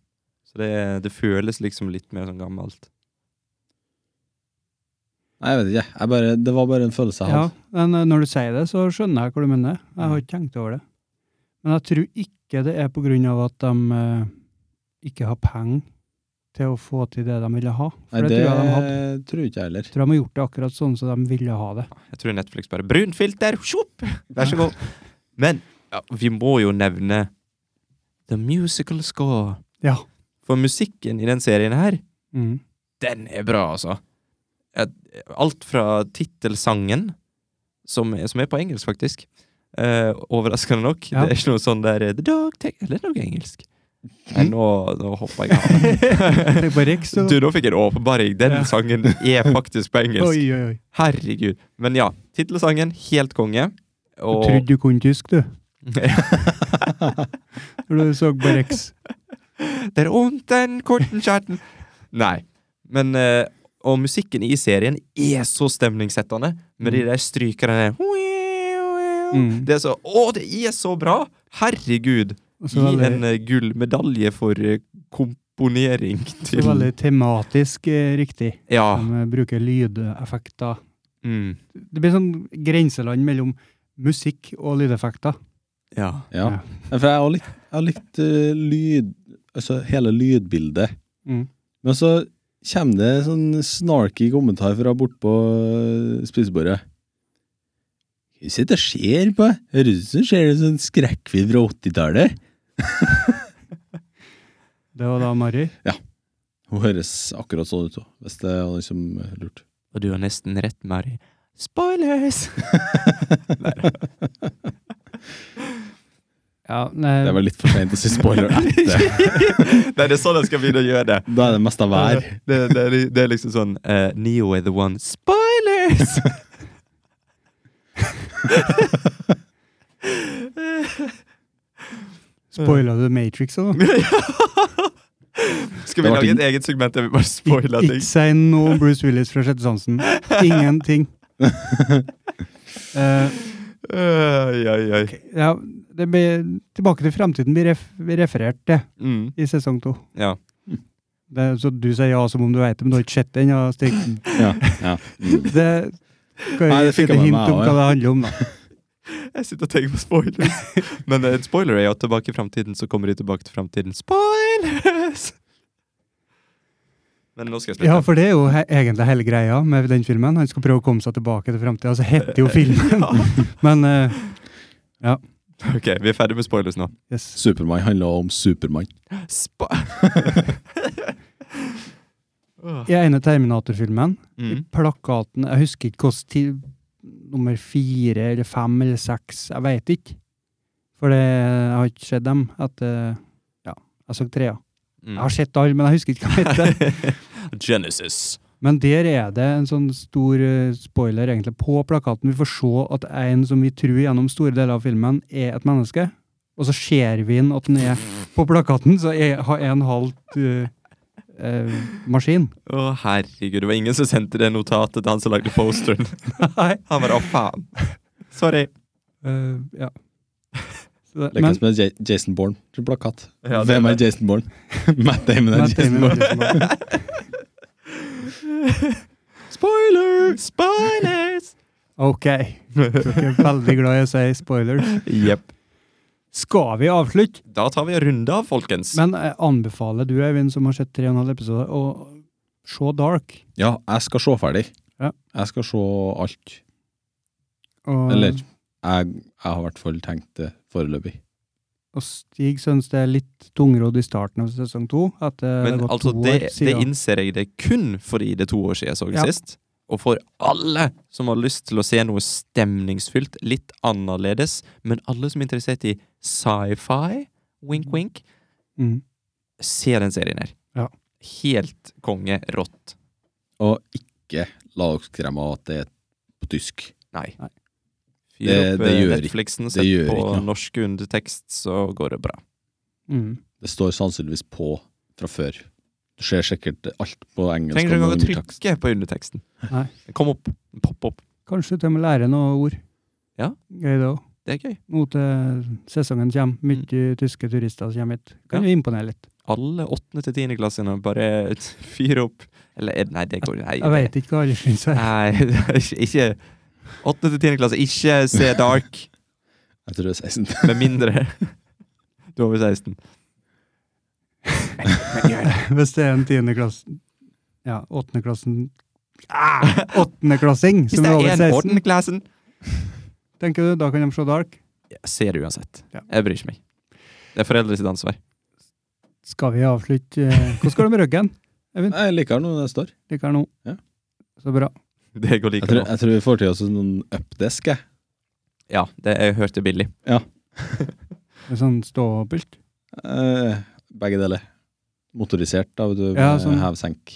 Speaker 2: Så det, det føles liksom litt mer sånn gammelt.
Speaker 3: Nei, jeg vet ikke. Jeg bare, det var bare en følelse jeg
Speaker 1: Ja,
Speaker 3: hadde.
Speaker 1: men eh, når du sier det, så skjønner jeg hva du mener. Jeg
Speaker 2: Mm.
Speaker 1: har ikke tenkt over det. Men jeg tror ikke det er på grunn av at de eh, ikke har penger til å få til det de ville ha. For
Speaker 3: Nei,
Speaker 1: det,
Speaker 3: det
Speaker 1: tror jeg de hadde.
Speaker 3: tror ikke jeg heller.
Speaker 1: Jeg tror de har gjort det akkurat sånn som de ville ha det.
Speaker 2: Jeg tror Netflix bare Brunt filter! Sjopp! Vær så god. Men ja, vi må jo nevne The Musical Score.
Speaker 1: Ja.
Speaker 2: For musikken i den serien her,
Speaker 1: Mm.
Speaker 2: den er bra, altså. Et- Alt fra tittelsangen, som, er- som er på engelsk, faktisk. Eh, overraskende nok.
Speaker 1: Ja.
Speaker 2: Det er ikke noe sånn der eh, The dog take Eller noe engelsk.
Speaker 1: Mhm.
Speaker 2: Nei, nå, nå hoppa jeg av.
Speaker 1: Tenk på Rex, så.
Speaker 2: Du, nå fikk jeg en åpenbaring. Den
Speaker 1: Ja.
Speaker 2: sangen er faktisk på
Speaker 1: Oi,
Speaker 2: engelsk.
Speaker 1: oi, oi.
Speaker 2: Herregud. Men ja, tittelsangen, helt konge.
Speaker 1: Du
Speaker 2: Og
Speaker 1: trodde du kunne tysk, du. Når du så på Rex.
Speaker 2: Det er ondt, den korten kjerten. Nei. Men eh, Og musikken i serien er så stemningssettende, med de der strykerne
Speaker 1: Mm.
Speaker 2: Det er så Å, det er så bra! Herregud!
Speaker 1: Og
Speaker 2: Gi
Speaker 1: så veldig-
Speaker 2: en eh, gullmedalje for eh, komponering
Speaker 1: så
Speaker 2: til Ah.
Speaker 1: veldig tematisk eh, riktig.
Speaker 2: Ja.
Speaker 1: De eh, bruker lydeffekter.
Speaker 2: Mm.
Speaker 1: Det blir sånn grenseland mellom musikk og lydeffekter.
Speaker 2: Ja.
Speaker 3: Ja.
Speaker 1: Ja.
Speaker 3: Nei, For jeg har likt, jeg har likt eh, lyd Altså hele lydbildet.
Speaker 1: Mm.
Speaker 3: Men så kommer det sånn snarky kommentar fra eh, bortpå spisebordet. Hva er det som skjer på? Høres ut som skjer en sånn skrekkfilm fra 80-tallet.
Speaker 1: Det var da Mari.
Speaker 3: Hun høres akkurat sånn ut, også, hvis det er noen som lurte.
Speaker 2: Og du har nesten rett, Mari. Spoilers!
Speaker 1: Ja, nei,
Speaker 3: Det er vel litt for seint å si spoiler etter.
Speaker 2: Nei, det er sånn jeg skal begynne å gjøre det.
Speaker 3: Da er det mest av hver.
Speaker 2: Det, det, er, det er liksom sånn eh, Neo er the one. Spoilers!
Speaker 1: Spoila du Matrix òg?
Speaker 2: Skal vi
Speaker 3: Det var
Speaker 2: lage
Speaker 3: ting.
Speaker 2: et eget segment der vi bare spoiler
Speaker 1: Ikke
Speaker 2: ting?
Speaker 1: si noe om Bruce Willis fra Sjette sansen. Ingenting. Eh,
Speaker 2: Oi, oi, oi.
Speaker 1: ja, det blir, tilbake til fremtiden blir ref, blir referert til
Speaker 2: Mm,
Speaker 1: i sesong to.
Speaker 2: ja.
Speaker 1: Det, er- så du sier ja som om du vet det, men du har ikke sett den? Ja, Stig.
Speaker 3: Ja, ja. Mm.
Speaker 1: det kan
Speaker 3: Nei,
Speaker 1: jeg
Speaker 3: det
Speaker 1: gi et
Speaker 3: fikk jeg med
Speaker 1: hint
Speaker 3: meg
Speaker 1: om
Speaker 3: også,
Speaker 1: hva det handler om, da.
Speaker 2: Jeg sitter og tenker på spoilers. Men eh, en spoiler er jo at tilbake i framtiden så kommer de tilbake til framtiden. Spoilers! Men nå skal jeg slutte.
Speaker 1: Ja, for det er jo he egentlig hele greia med den filmen. Han skal prøve å komme seg tilbake til fremtiden, så heter jo filmen. Men eh,
Speaker 2: Ok, vi er ferdig med spoilers nå.
Speaker 1: yes.
Speaker 3: Supermann handler om Supermann.
Speaker 2: Spa...
Speaker 1: I ene Terminator-filmen I
Speaker 2: Mm.
Speaker 1: plakaten Jeg husker ikke hvordan ti- nummer fire eller fem eller seks Jeg veit ikke. For det, jeg har ikke sett dem etter Ja, jeg så trea.
Speaker 2: mm.
Speaker 1: Jeg har sett alle, men jeg husker ikke hva de heter.
Speaker 2: Genesis.
Speaker 1: Men der er det en sånn stor eh, spoiler egentlig på plakaten. Vi får se at en som vi tror gjennom store deler av filmen er et menneske, og så ser vi inn at den er på plakaten, så er, har en halvt eh, eh, maskin.
Speaker 2: Å, herregud, det var ingen som sendte det notatet til han som lagde posteren. Nei, han bare 'å, faen'. Sorry.
Speaker 1: Eh, ja. Så det-
Speaker 3: Likes med Ja- Jason Bourne til plakat.
Speaker 2: Ja, det er
Speaker 3: Hvem er
Speaker 2: det.
Speaker 3: Jason Bourne? Matt Damon er
Speaker 1: Matt
Speaker 3: Jason
Speaker 1: Damon er
Speaker 3: Bourne.
Speaker 1: Jason Bourne.
Speaker 2: Spoiler! Spoilers!
Speaker 1: Ok. Dere er veldig glad i å si spoilers.
Speaker 2: Jepp.
Speaker 1: Skal vi avslutte?
Speaker 2: Da tar vi en runde av, folkens.
Speaker 1: Men jeg anbefaler du, Eivind, som har sett tre og en halv episode, å se Dark.
Speaker 3: Ja, jeg skal se ferdig.
Speaker 1: Ja.
Speaker 3: Jeg skal se alt.
Speaker 1: Og,
Speaker 3: Eller jeg, jeg har i hvert fall tenkt det foreløpig.
Speaker 1: og Stig syns det er litt tungrodd i starten av sesong to. At Eh, det
Speaker 2: Men
Speaker 1: har gått
Speaker 2: altså,
Speaker 1: to
Speaker 2: det,
Speaker 1: år
Speaker 2: det
Speaker 1: siden.
Speaker 2: innser jeg det kun fordi det er to år siden jeg så det
Speaker 1: Ja.
Speaker 2: sist. Og for alle som har lyst til å se noe stemningsfylt, litt annerledes, men alle som er interessert i sci-fi, wink wink,
Speaker 1: mm.
Speaker 2: se den serien her.
Speaker 1: Ja.
Speaker 2: Helt konge rått.
Speaker 3: Og ikke la dere skremme av at det er på tysk.
Speaker 2: Nei.
Speaker 1: Nei.
Speaker 2: Fyr
Speaker 3: Det-
Speaker 2: opp
Speaker 3: det
Speaker 2: eh,
Speaker 3: gjør ikke-
Speaker 2: Netflixen,
Speaker 3: det
Speaker 2: sett
Speaker 3: gjør
Speaker 2: på
Speaker 3: ikke noe.
Speaker 2: norsk undertekst, så går det bra.
Speaker 1: Mm.
Speaker 3: Det står sannsynligvis på fra før. Du ser sikkert alt på engelsk.
Speaker 2: Trenger ikke
Speaker 3: og
Speaker 2: engang å
Speaker 3: undertekst.
Speaker 2: trykke på underteksten.
Speaker 1: Nei.
Speaker 2: Kom opp. Popp opp.
Speaker 1: Kanskje til og med lære noen ord.
Speaker 2: Ja.
Speaker 1: Gøy det òg.
Speaker 2: Det er gøy.
Speaker 1: Nå til sesongen kommer, mye tyske turister som kommer hit. Kan
Speaker 2: Ja.
Speaker 1: vi imponere litt?
Speaker 2: Alle åttende til tiendeklassene, bare fyr opp. Eller er det- nei, det går nei,
Speaker 1: Jeg
Speaker 2: det-
Speaker 1: veit ikke hva alle syns her.
Speaker 2: Nei, ikke- ikke åttende til tiende klasse. Ikke se Dark,
Speaker 3: Jeg tror det er 16.
Speaker 2: med mindre du er over 16.
Speaker 1: Hvis det er en tiendeklassen Ja, åttendeklassen ah, Åttendeklassing
Speaker 2: Hvis
Speaker 1: som er over
Speaker 2: det er en
Speaker 1: 16,
Speaker 2: åttendeklassen,
Speaker 1: tenker du, da kan de se Dark.
Speaker 2: ja, se det uansett.
Speaker 1: Ja.
Speaker 2: Jeg bryr ikke meg. Det er foreldre sitt ansvar.
Speaker 1: Skal vi avslutte eh, Hvordan går det med ryggen?
Speaker 3: Jeg liker noe det står.
Speaker 1: Liker her nå.
Speaker 3: Ja.
Speaker 1: Så bra.
Speaker 2: Det går like
Speaker 3: Jeg tror,
Speaker 2: bra.
Speaker 3: jeg tror vi får til oss noen updesk. Jeg.
Speaker 2: Ja, det jeg hørte billig.
Speaker 1: Det er sånn ståpult.
Speaker 3: Eh, begge deler. Motorisert, da. vet Du,
Speaker 1: Ja,
Speaker 3: med
Speaker 1: sånn.
Speaker 3: Hev-senk.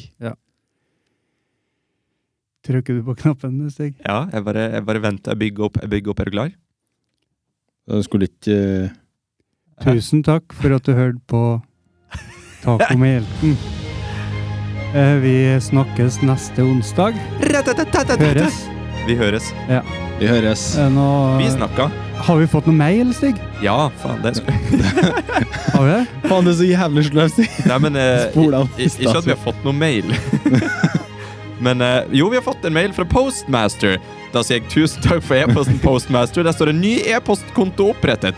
Speaker 1: Trykker du på knappen, Stig?
Speaker 2: Ja, jeg bare, jeg bare venter. Jeg bygger opp. Jeg bygger opp. Er du klar?
Speaker 3: Jeg skulle ikke eh,
Speaker 1: Tusen takk for at du hørte på Taco med hjelten. Eh, Vi snakkes neste onsdag. Høres.
Speaker 2: Vi høres.
Speaker 3: Vi høres.
Speaker 1: Er det noe-
Speaker 2: Vi snakka.
Speaker 1: har vi fått noe mail, Stig?
Speaker 2: Ja, faen. Det er sp-
Speaker 1: Har vi det?
Speaker 3: Faen, det er så jævlig sløvt!
Speaker 2: Nei, men eh,
Speaker 3: Spol deg opp
Speaker 2: i- i-
Speaker 3: i stad.
Speaker 2: Ikke at vi har fått noen mail. men eh, jo, vi har fått en mail fra Postmaster. Da sier jeg tusen takk for e-posten, Postmaster. Der står en ny e-postkonto opprettet.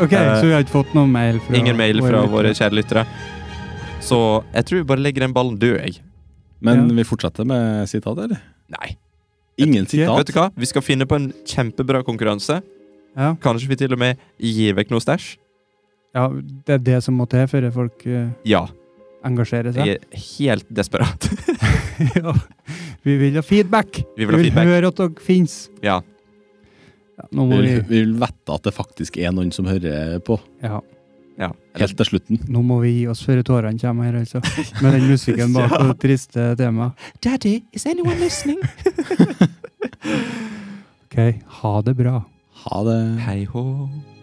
Speaker 1: Ok,
Speaker 2: Eh,
Speaker 1: Så vi har ikke fått noe mail fra
Speaker 2: Ingen mail
Speaker 1: våre
Speaker 2: fra
Speaker 1: lyttere.
Speaker 2: våre kjære lyttere. Så jeg tror vi bare legger den ballen død, jeg.
Speaker 3: Men
Speaker 1: Ja.
Speaker 3: vi fortsetter med sitat, eller?
Speaker 2: Nei.
Speaker 3: Ingen
Speaker 2: Vet
Speaker 3: sitat.
Speaker 2: du hva? Vi skal finne på en kjempebra konkurranse.
Speaker 1: Ja.
Speaker 2: Kanskje vi til og med gir vekk noe stæsj?
Speaker 1: Ja, det er det som må til før folk eh,
Speaker 2: Ja.
Speaker 1: engasjerer seg.
Speaker 2: Jeg er helt desperat.
Speaker 1: ja. Vi vil ha feedback!
Speaker 2: Vi vil ha feedback.
Speaker 1: høre at dere fins.
Speaker 2: Ja.
Speaker 1: Ja, nå
Speaker 3: Vi
Speaker 1: må vi,
Speaker 3: vil, vi vil vette at det faktisk er noen som hører på.
Speaker 1: ja,
Speaker 2: ja. Eller,
Speaker 3: Helt til slutten.
Speaker 1: nå må vi gi oss før tårene kommer her, altså. Med den musikken bak
Speaker 2: Ja.
Speaker 1: og det triste temaet.
Speaker 2: Daddy, is anyone listening?
Speaker 1: OK, ha det bra.
Speaker 3: Ha det.
Speaker 2: Hei hå.